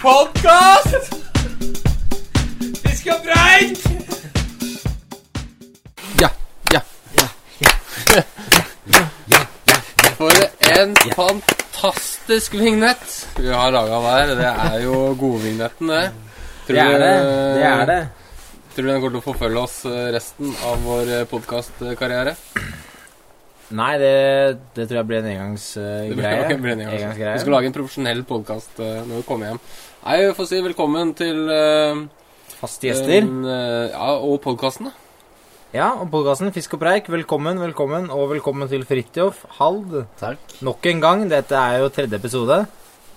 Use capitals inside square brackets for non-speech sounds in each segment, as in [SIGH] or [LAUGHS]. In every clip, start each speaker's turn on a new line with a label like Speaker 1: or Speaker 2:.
Speaker 1: Podkast! Diskopreik!
Speaker 2: Ja, ja, ja, ja. For en fantastisk vignett vi har laga der. Det er jo godvignetten, det. Tror
Speaker 1: Det er
Speaker 2: du-
Speaker 1: det. Det er det.
Speaker 2: Tror du den kommer til å forfølge oss eh, resten av vår eh, podkastkarriere?
Speaker 1: Nei, det, det tror jeg blir en
Speaker 2: Det blir nok
Speaker 1: engangsgreie.
Speaker 2: en brenning, altså.
Speaker 1: Engangsgreie.
Speaker 2: Vi skal lage en profesjonell podkast når vi kommer hjem. Nei, vi får si velkommen til eh,
Speaker 1: Faste gjester.
Speaker 2: en, eh, ja, og podkasten, da.
Speaker 1: Ja, og podkasten Fisk og preik, velkommen, velkommen, og velkommen til Fridtjof Hald.
Speaker 3: Takk.
Speaker 1: Nok en gang. Dette er jo tredje episode.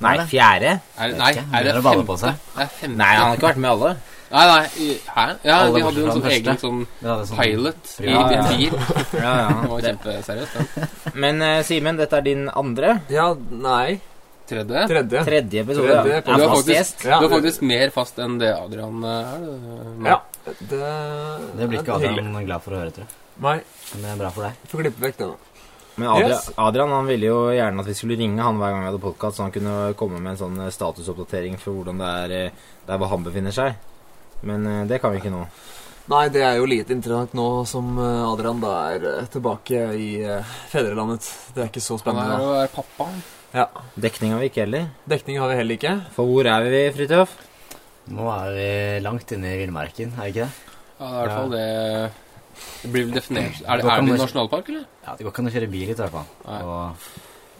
Speaker 1: Nei,
Speaker 3: Er det?
Speaker 1: fjerde.
Speaker 2: Er,
Speaker 3: Vet
Speaker 2: nei,
Speaker 3: ikke,
Speaker 2: er det
Speaker 3: begynner å balle på
Speaker 2: femte?
Speaker 3: seg.
Speaker 2: Det er femte.
Speaker 1: Nei, han har ikke vært med i alle.
Speaker 2: Nei, nei, i- hæ? Ja,
Speaker 3: Alle
Speaker 2: vi hadde jo en sånn
Speaker 3: bortsett fra den
Speaker 2: egen
Speaker 3: første.
Speaker 2: sånn
Speaker 3: Vi hadde sånn-
Speaker 2: pilot i,
Speaker 1: Ja,
Speaker 2: i
Speaker 1: ja.
Speaker 2: en bil.
Speaker 1: Ja,
Speaker 2: Det var
Speaker 1: ja.
Speaker 2: kjempeseriøst. den.
Speaker 1: Men eh, Simen, dette er din andre.
Speaker 4: Ja, nei
Speaker 2: Tredje.
Speaker 4: Tredje.
Speaker 1: Tredje episode.
Speaker 4: Tredje
Speaker 1: ja. Ja,
Speaker 4: episode.
Speaker 2: Du er
Speaker 1: fast
Speaker 2: faktisk-
Speaker 1: gjest.
Speaker 4: Ja.
Speaker 2: Du er faktisk mer fast enn det Adrian eh, er. det-
Speaker 4: Ja. Det,
Speaker 3: Det blir ikke
Speaker 4: er hyggelig.
Speaker 3: Adrian glad for å høre, tror jeg.
Speaker 4: Nei,
Speaker 3: Men det er bra for deg.
Speaker 4: får klippe vekk det nå.
Speaker 1: Men Adrian,
Speaker 4: Yes.
Speaker 1: Adrian han ville jo gjerne at vi skulle ringe han hver gang vi hadde podkast, så han kunne komme med en sånn eh, statusoppdatering for hvordan det er eh, der hvor han befinner seg. Men eh, det kan vi ikke nå.
Speaker 4: Nei, det er jo lite interessant nå som eh, Adrian da er eh, tilbake i eh, fedrelandet. Det er ikke så
Speaker 2: Han er
Speaker 4: spennende.
Speaker 2: jo er pappa.
Speaker 1: Dekning har vi ikke heller.
Speaker 4: Dekning har vi heller ikke.
Speaker 1: For hvor er vi, Fridtjof?
Speaker 3: Nå er vi langt inne i villmarken, er vi ikke det?
Speaker 2: Ja, det er i hvert
Speaker 3: Ja.
Speaker 2: fall det Det blir vel definert Er det,
Speaker 3: Da
Speaker 2: er
Speaker 3: kan
Speaker 2: det i
Speaker 3: man-
Speaker 2: nasjonalpark, eller?
Speaker 3: Ja, Det går ikke an å kjøre bil hit, i hvert fall.
Speaker 2: Nei.
Speaker 3: Og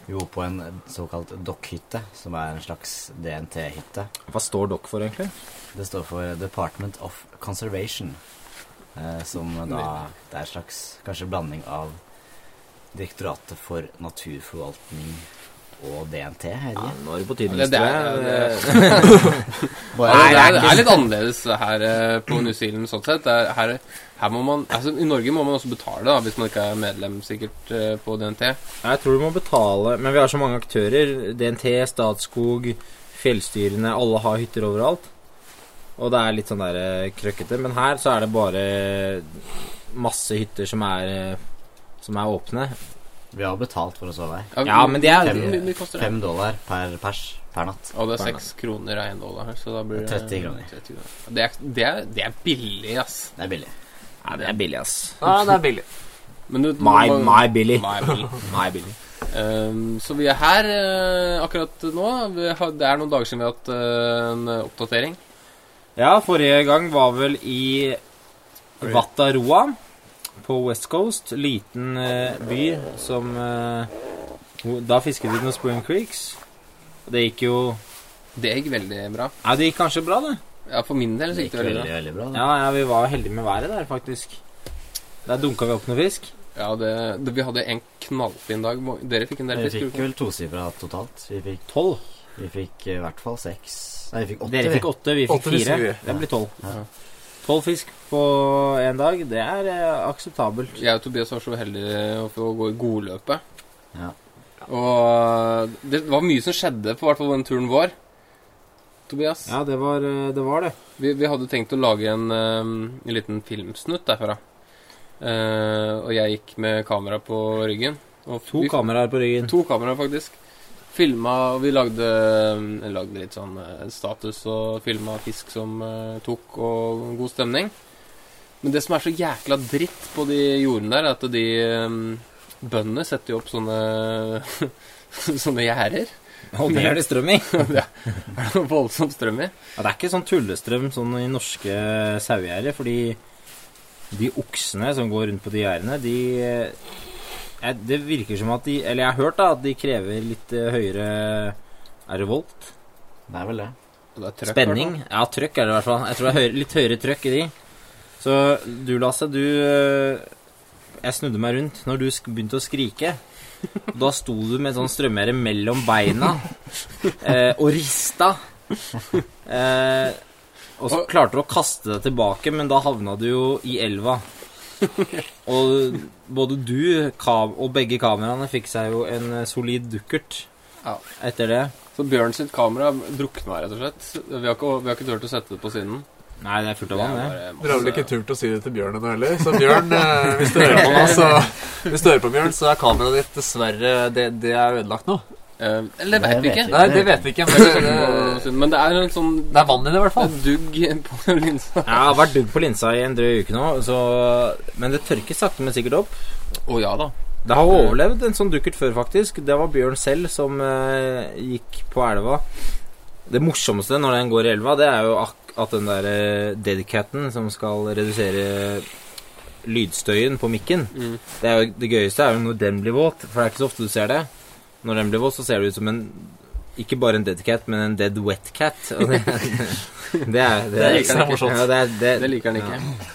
Speaker 3: vi bor på en såkalt dokkhytte, som er en slags DNT-hytte.
Speaker 1: Hva står dere for, egentlig?
Speaker 3: Det står for Department of Conservation, eh, som da Det er en slags kanskje blanding av Direktoratet for naturforvaltning og DNT, er det
Speaker 1: Ja,
Speaker 3: ikke?
Speaker 1: nå er det på tide
Speaker 2: Ja,
Speaker 1: med
Speaker 2: det- det er-
Speaker 1: historie.
Speaker 2: Ja,
Speaker 3: Bare-
Speaker 1: Nei,
Speaker 2: det, er, det
Speaker 1: ikke-
Speaker 2: er litt annerledes her eh, på New Zealand sånn sett. Det er- her, her må man, altså, I Norge må man også betale da, hvis man ikke er medlem sikkert eh, på DNT.
Speaker 1: [LAUGHS] Jeg tror du må betale Men vi har så mange aktører. DNT, Statskog, fjellstyrene. Alle har hytter overalt. Og det er litt sånn der eh, krøkkete. Men her så er det bare masse hytter som er eh, som er åpne.
Speaker 3: Vi har betalt for å sove her.
Speaker 1: Ja, men det er-
Speaker 2: Hvor mye- hvor mye koster det?
Speaker 3: Fem dollar per pers per natt.
Speaker 2: Ja, det er seks kroner av én dollar her, så da blir det
Speaker 3: 30 kroner.
Speaker 2: 30 kroner. Det, er, det, er, det er billig, ass.
Speaker 3: Det er billig.
Speaker 1: Nei, det er billig, ass.
Speaker 4: Nei, det er billig.
Speaker 2: Men du,
Speaker 1: My,
Speaker 2: man-
Speaker 1: my billig.
Speaker 2: My bill.
Speaker 1: My billig.
Speaker 2: Ehm, så vi er her eh, akkurat nå. Vi har, det er noen dager siden vi har hatt eh, en oppdatering.
Speaker 1: Ja, forrige gang var vel i Wataroa på West Coast. Liten eh, by som eh, hvor- Da fisket vi noen Spring Creeks. Det gikk jo
Speaker 2: Det gikk veldig bra.
Speaker 1: Nei, det gikk kanskje bra, det.
Speaker 2: Ja, For min del
Speaker 3: Det
Speaker 2: så gikk
Speaker 3: gikk
Speaker 2: det veldig bra.
Speaker 3: veldig, veldig bra. da.
Speaker 1: Ja, ja, vi var heldige med været der, faktisk. Der dunka vi opp noe fisk.
Speaker 2: Ja, det, det, Vi hadde en knallfin dag. Hvor- Dere fikk en del
Speaker 3: Vi
Speaker 2: fisk?
Speaker 3: fikk
Speaker 2: gjorde dere ikke?
Speaker 3: vel tosifra totalt. Vi fikk,
Speaker 1: Tolv.
Speaker 3: vi fikk eh, i hvert fall seks Nei, vi fikk åtte.
Speaker 1: Dere
Speaker 3: vi.
Speaker 1: fikk åtte, vi fikk
Speaker 4: Åtte fisker
Speaker 1: fire.
Speaker 4: vi.
Speaker 1: Det blir tolv.
Speaker 2: Ja.
Speaker 1: Tolv fisk på én dag, det er eh, akseptabelt.
Speaker 2: Jeg og Tobias var så heldige å få gå i godløpet.
Speaker 3: Ja.
Speaker 2: Og eh, det var mye som skjedde på hvert fall den turen vår. Tobias?
Speaker 1: Ja, det var eh, det. Var det.
Speaker 2: Vi, vi hadde tenkt å lage en, ehm, en liten filmsnutt derfra. Eh, og jeg gik med kamera på ryggen. Og
Speaker 1: To
Speaker 2: vi-
Speaker 1: kameraer på ryggen.
Speaker 2: To kameraer, faktisk. Filma, og vi lagde, eh, lagde litt sånn eh, status og filma fisk som eh, tok, og god stemning. Men det som er så jækla dritt på de jordene der, er at de eh, bøndene setter jo opp sånne [LAUGHS] sånne gjerder. [LAUGHS]
Speaker 1: Og det er det strøm i.
Speaker 2: Det er noe voldsomt strøm i.
Speaker 1: Ja, det er ikke sånn tullestrøm sånn i norske sauegjerder, fordi de oksene som går rundt på de gjerdene, de eh, Det virker som at de Eller jeg har hørt da at de krever litt eh, høyere Er det volt?
Speaker 3: Det er vel det.
Speaker 2: Og det er trøkk,
Speaker 1: Spenning? Ja, trøkk er det i hvert fall. Jeg tror det er høyere, litt høyere trøkk i de. Så du, Lasse, du eh, Jeg snudde meg rundt når du sk- begynte å skrike. Da sto du med en sånn strømgjerde mellom beina eh, og rista. Eh, og så klarte du å kaste deg tilbake, men da havna du jo i elva. Og både du kam og begge kameraene fikk seg jo en eh, solid dukkert
Speaker 2: Ja.
Speaker 1: etter det.
Speaker 2: Så Bjørn sitt kamera drukna rett og slett. Vi har ikke, vi har ikke turt å sette det på siden.
Speaker 1: Nei, det er fullt av vann, det.
Speaker 2: er bare masse-
Speaker 4: Dere har vel ikke turt å si det til Bjørn ennå heller? Så Bjørn, eh, hvis du hører på nå, så Hvis du hører på Bjørn, så er kameraet ditt dessverre Det, det er ødelagt nå.
Speaker 2: Eh, Eller det
Speaker 3: Det
Speaker 2: vet vi
Speaker 3: vet
Speaker 2: ikke.
Speaker 3: vi.
Speaker 4: Nei, det vet vi ikke. Men det, det,
Speaker 2: Men det er en sånn
Speaker 4: det er vann i det, i hvert fall.
Speaker 2: dugg på linsa.
Speaker 1: Jeg har vært dugg på linsa i en drøy uke nå, så, men det tørker sakte, men sikkert opp.
Speaker 2: Å ja da.
Speaker 1: Det har overlevd en sånn dukkert før, faktisk. Det var Bjørn selv som eh, gikk på elva. Det morsomste når den går i elva, det er jo ak at den der eh, deadcaten som skal redusere lydstøyen på mikken
Speaker 2: Mm.
Speaker 1: Det, er jo, det gøyeste er jo når den blir våt, for det er ikke så ofte du ser det. Når den blir våt, så ser det ut som en ikke bare en dead cat, men en dead wet cat. Og [LAUGHS] det, det er
Speaker 4: Det liker han ikke.
Speaker 1: Ja, det, er-
Speaker 2: Det liker han ikke.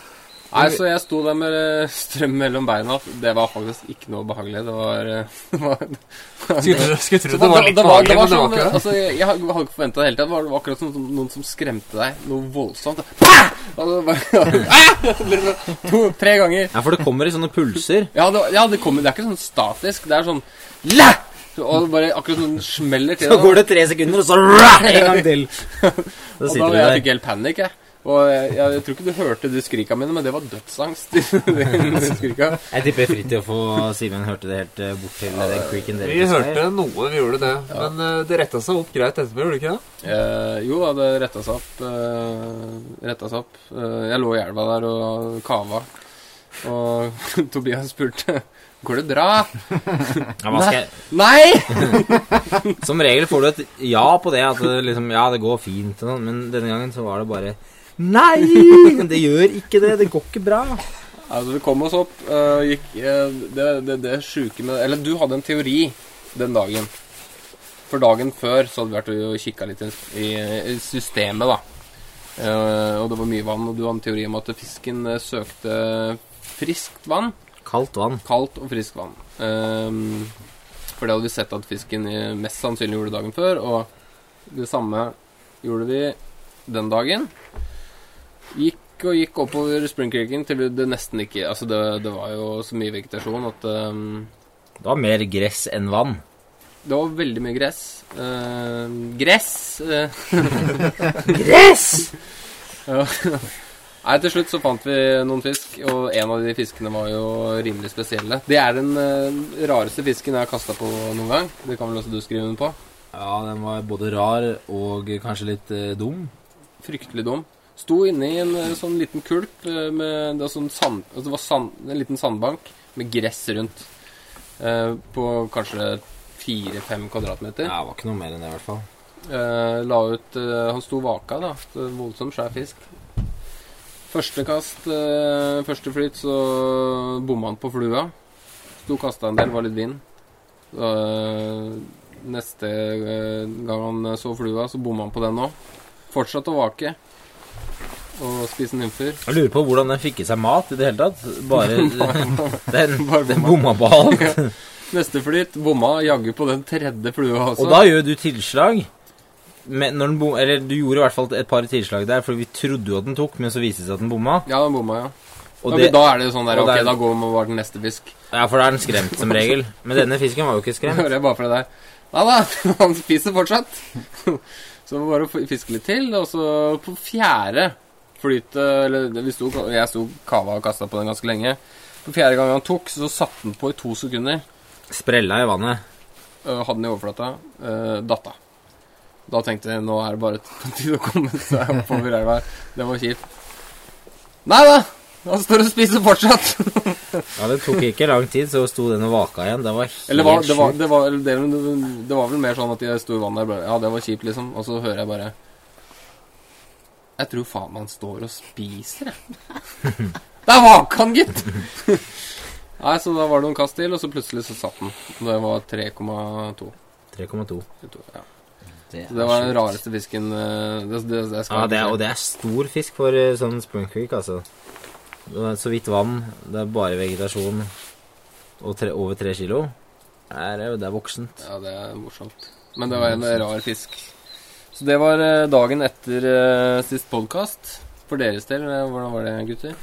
Speaker 2: Nei, så jeg sto der med eh, strøm mellom beina. Det var faktisk ikke noe behagelig. Det var, eh, [LAUGHS] det var
Speaker 4: Skulle tro- Skulle tro
Speaker 2: Det
Speaker 4: det var litt
Speaker 2: var- det
Speaker 4: behagelig,
Speaker 2: var
Speaker 4: men
Speaker 2: sånn,
Speaker 4: det var ikke det.
Speaker 2: altså, jeg, jeg hadde ikke forventa det hele tatt. Det var- det var akkurat som som noen som skremte deg noe voldsomt. Altså, [LAUGHS] bare, Liksom to, tre ganger.
Speaker 1: Ja, for det kommer i sånne
Speaker 2: [LAUGHS]
Speaker 1: pulser.
Speaker 2: Ja, det, var- ja det, kommer, det er ikke sånn statisk. Det er sånn Læ! Og det bare akkurat som den smeller til.
Speaker 1: [LAUGHS] Så
Speaker 2: deg.
Speaker 1: går det tre sekunder, og så rah, en gang til. [LAUGHS] Så
Speaker 2: Og [LAUGHS] da
Speaker 1: sitter du
Speaker 2: var jeg
Speaker 1: der.
Speaker 2: fikk helt panikk, jeg. Og jeg, jeg, jeg tror ikke du hørte de skrika mine, men det var dødsangst. [LAUGHS] de skrika.
Speaker 1: Jeg tipper Fridtjof og Simen hørte det helt eh, bort til den creaken dere
Speaker 4: Vi
Speaker 1: ikke ser.
Speaker 4: hørte noe, vi gjorde det.
Speaker 2: Ja.
Speaker 4: Men eh, det retta seg opp greit etterpå, gjorde det ikke det?
Speaker 2: Eh, jo da, det retta seg opp. eh, retta seg opp. Eh, jeg lå i elva der og kava. Og [LAUGHS] Tobias spurte Går det bra?
Speaker 1: Ja, hva skal jeg?
Speaker 2: Nei!
Speaker 1: Som regel får du et ja på det, at det liksom, ja, det går fint og sånn, men denne gangen så var det bare Nei! Det gjør ikke det. Det går ikke bra.
Speaker 2: Altså, vi kom oss opp. eh, gikk eh, Det, det, det sjuke med Eller du hadde en teori den dagen. For dagen før så hadde vi vært og kikka litt i, i systemet, da. Eh, og det var mye vann, og du hadde en teori om at fisken eh, søkte friskt vann.
Speaker 1: Kaldt vann.
Speaker 2: Kaldt og friskt vann. Ehm, for det hadde vi sett at fisken eh, mest sannsynlig gjorde dagen før, og det samme gjorde vi den dagen. Gikk og gikk oppover Springkriken til det nesten ikke Altså, det, det var jo så mye vegetasjon at ehm,
Speaker 1: Det var mer gress enn vann.
Speaker 2: det var veldig mye gress. Ehm, gress! eh,
Speaker 1: Gress!
Speaker 2: Nei, til slutt så fant vi noen fisk, og en av de fiskene var jo rimelig spesielle. Det er den eh, rareste fisken jeg har kasta på noen gang. Det kan vel også du skrive under på?
Speaker 1: Ja, den var både rar og kanskje litt eh, dum.
Speaker 2: fryktelig dum. Sto inne i en eh, sånn liten kulp eh, med det var, sånn sand, altså det var sand, en liten sandbank med gress rundt. Eh, på kanskje fire-fem kvadratmeter.
Speaker 1: Ja, det var ikke noe mer enn det, i hvert fall.
Speaker 2: Eh, la ut eh, Han sto vaka, da. Det var Voldsomt skjær fisk. Første kast, eh, første flyt, så bomma han på flua. Sto kasta en del, var litt vind. Eh, neste eh, gang han så flua, så bomma han på den òg. Fortsatte å vake og spise nymfer. [LAUGHS]
Speaker 1: Jeg lurer på hvordan den fikk i seg mat i det hele tatt. Bare Den,
Speaker 2: Bare
Speaker 1: den
Speaker 2: bomma.
Speaker 1: bomma på alt.
Speaker 2: Neste flyt bomma jaggu på den tredje flua altså. også.
Speaker 1: Og da gjør du tilslag. Men når den bom, eller du gjorde i hvert fall et par tilslag der, for vi trodde jo at den tok, men så viste det seg at den bomma.
Speaker 2: Ja, den bomma, ja.
Speaker 1: Og
Speaker 2: ja
Speaker 1: det,
Speaker 2: men da er det jo sånn der
Speaker 1: og
Speaker 2: Ok,
Speaker 1: det er-
Speaker 2: da går man bare til neste fisk.
Speaker 1: ja, for da er den skremt, som regel. Men denne fisken var jo ikke
Speaker 2: Det
Speaker 1: skremt.
Speaker 2: hører jeg bare fra deg. Nei [LAUGHS] da, han spiser fortsatt. [LAUGHS] Så det var bare å f- fiske litt til, og så på fjerde flytet Eller vi sto, jeg sto kava og kasta på den ganske lenge. På fjerde gang han tok, så satte han på i to sekunder.
Speaker 1: Sprella i vannet.
Speaker 2: øh, Hadde den i overflata. øh, Datt av. Da tenkte jeg nå er det bare [LAUGHS] på tide å komme seg oppover elva. her. Det var kjipt. Nei da! Han står og spiser fortsatt.
Speaker 1: Ja, Det tok ikke lang tid, så sto den og vaka igjen. Det var
Speaker 2: Eller var,
Speaker 1: helt
Speaker 2: det, var,
Speaker 1: sjukt.
Speaker 2: det, var, eller det, det var vel mer sånn at jeg sto i vannet der bare Ja, det var kjipt, liksom. Og så hører jeg bare Jeg tror faen man står og spiser, jeg. Det er vakan, gitt! Nei, så da var det noen kast til, og så plutselig så satt den. Det var 3,2.
Speaker 1: 3,2.
Speaker 2: Ja.
Speaker 3: Det,
Speaker 2: Så det var den
Speaker 3: sjukt.
Speaker 2: rareste fisken eh, det, det, det skal
Speaker 1: Ja,
Speaker 2: jeg
Speaker 1: det er,
Speaker 2: ikke
Speaker 1: og det er stor fisk for eh, sånn Spring Creek, altså. Det er så vidt vann. Det er bare vegetasjon. Og tre, over tre kilo. Her er jo- Det er voksent.
Speaker 2: si. Ja, det er morsomt. Men det var en rar fisk. Så det var eh, dagen etter eh, sist podkast. For deres del, eh, hvordan var det, gutter?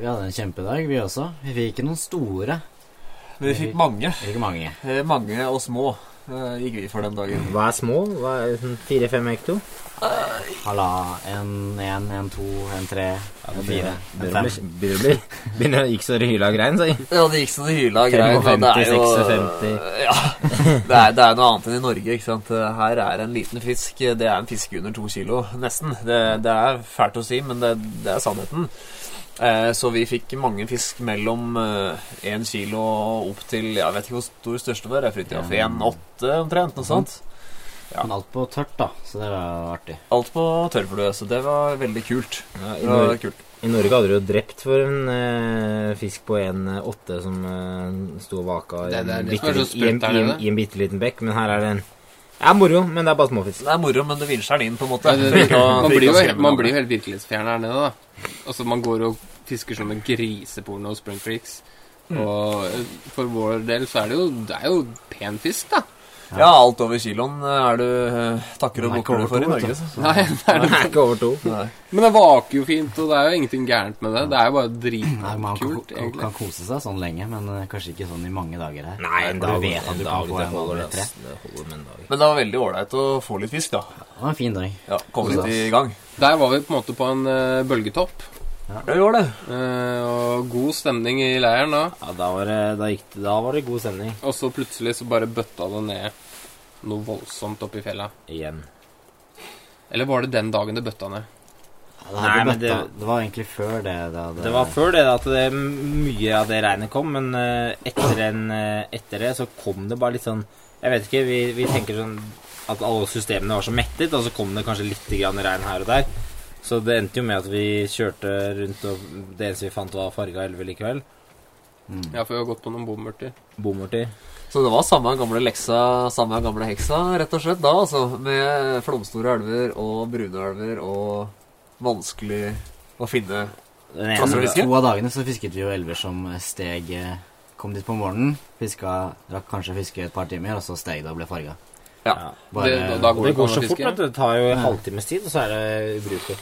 Speaker 3: Vi hadde en kjempedag, vi også. Vi fikk ikke noen store.
Speaker 4: Men vi fikk mange.
Speaker 3: Vi fikk mange.
Speaker 4: Eh, Mange og små. eh, gikk vi for den dagen.
Speaker 1: Hva er små? Hva er sånn 4-5 hekto?
Speaker 3: Halla, en, en, en, to, en, tre, en fire, en
Speaker 1: Begynner å
Speaker 3: fem.
Speaker 1: bli- begynner å bli- Begynner å ikke så hyla og grein, sier jeg.
Speaker 4: Ja, det gikk så det hyla og greit. og
Speaker 1: 55,
Speaker 4: det er jo
Speaker 1: 56.
Speaker 4: Ja, det er, det er noe annet enn i Norge. ikke sant? Her er en liten fisk eh, Det er en fisk under to kilo, nesten. Det, det er fælt å si, men det, det er sannheten. Eh, Så vi fikk mange fisk mellom én kilo og opp til Jeg vet ikke hvor stor største var. Fritjof.
Speaker 3: Ja.
Speaker 4: 1,8 omtrent. Noe sånt. Ja.
Speaker 3: Men alt på tørt, da, så det var artig.
Speaker 4: Alt på tørrflue, så det var veldig kult.
Speaker 1: Ja, i,
Speaker 4: Det var
Speaker 1: Norge,
Speaker 4: kult.
Speaker 1: I Norge hadde du jo drept for en eh, fisk på 1,8 som eh, sto og vaka i
Speaker 2: Det-
Speaker 1: en
Speaker 2: det er det som
Speaker 1: bitte li- i
Speaker 2: er så
Speaker 1: en-
Speaker 2: sprøtt her
Speaker 1: i en-
Speaker 2: nede.
Speaker 1: i en bitte liten bekk, men her er det en Det er moro, men det er bare småfisk.
Speaker 4: Det er moro, men det vinsjer den inn, på en måte.
Speaker 2: Nei, det-
Speaker 4: For [LAUGHS] ikke å-
Speaker 2: Man
Speaker 4: for
Speaker 2: blir jo
Speaker 4: ikke å skremme
Speaker 2: helt, man
Speaker 4: noen.
Speaker 2: blir jo helt virkelighetsfjern her nede, da. Altså, man går og fisker sånne griseporno og spring creeks.
Speaker 3: Mm.
Speaker 2: Og eh, for vår del så er det jo Det er jo pen fisk, da.
Speaker 4: Ja, alt over kiloen er du eh, takker
Speaker 3: Den
Speaker 4: og
Speaker 3: er ikke
Speaker 4: bukker du for i
Speaker 3: over to,
Speaker 4: Norge.
Speaker 3: vet du.
Speaker 4: så.
Speaker 2: Nei, [LAUGHS] det [LAUGHS] er
Speaker 1: Det er ikke over to.
Speaker 4: Nei.
Speaker 2: Men det vaker jo fint, og det er jo ingenting gærent med det. Det er jo bare
Speaker 3: Nei, man kan,
Speaker 2: dritkult,
Speaker 3: kan,
Speaker 2: egentlig.
Speaker 3: kan kose seg sånn lenge, men eh, kanskje ikke sånn i mange dager her.
Speaker 1: Nei, en
Speaker 3: For
Speaker 1: dag,
Speaker 3: Du vet at
Speaker 1: en
Speaker 3: du
Speaker 1: dag
Speaker 3: kan få
Speaker 1: det
Speaker 3: en
Speaker 1: holder,
Speaker 3: over tre.
Speaker 1: ass. Det holder med en dag.
Speaker 4: Men det var veldig ålreit å få litt fisk, da.
Speaker 3: Det var en fin dag.
Speaker 4: Ja, Komme litt i gang.
Speaker 2: Der var vi på en måte på en eh, bølgetopp.
Speaker 4: Ja, vi var det.
Speaker 2: eh, og god stemning i leiren da.
Speaker 1: Ja, da var det, da gikk det, da var det god stemning
Speaker 2: Og så plutselig så bare bøtta det ned noe voldsomt oppi fjella.
Speaker 1: igjen.
Speaker 2: Eller var det den dagen det bøtta ned?
Speaker 3: Ja, det,
Speaker 1: Nei,
Speaker 3: Nei,
Speaker 1: men
Speaker 3: det, det var egentlig før det. Det, hadde-
Speaker 1: Det var før det at det, mye av det regnet kom, men eh, etter, en, eh, etter det så kom det bare litt sånn Jeg vet ikke, vi, vi tenker sånn at alle systemene var så mettet, og så kom det kanskje litt grann regn her og der. Så det endte jo med at vi kjørte rundt, og det eneste vi fant, var farga elver likevel.
Speaker 3: Mm.
Speaker 2: Ja, for vi har gått på noen bomurter.
Speaker 1: Bomurter.
Speaker 4: Så det var samme gamle leksa, samme gamle heksa, rett og slett, da, altså. Med flomstore elver og brune elver og vanskelig å finne
Speaker 1: Den
Speaker 4: Plasser å
Speaker 1: ene,
Speaker 4: fiske?
Speaker 3: To av dagene så fisket vi jo elver som steg eh, Kom dit på morgenen, fiska, rakk kanskje fiske et par timer, og så steg det og ble farga.
Speaker 1: ja.
Speaker 3: Bare
Speaker 2: Det- da
Speaker 1: Og
Speaker 2: går
Speaker 1: det
Speaker 2: det ikke
Speaker 1: går
Speaker 2: an
Speaker 1: så
Speaker 2: å
Speaker 1: fort
Speaker 2: fiske.
Speaker 1: at det tar jo en
Speaker 3: Ja.
Speaker 1: halvtimes tid, og så er det ubrukelig.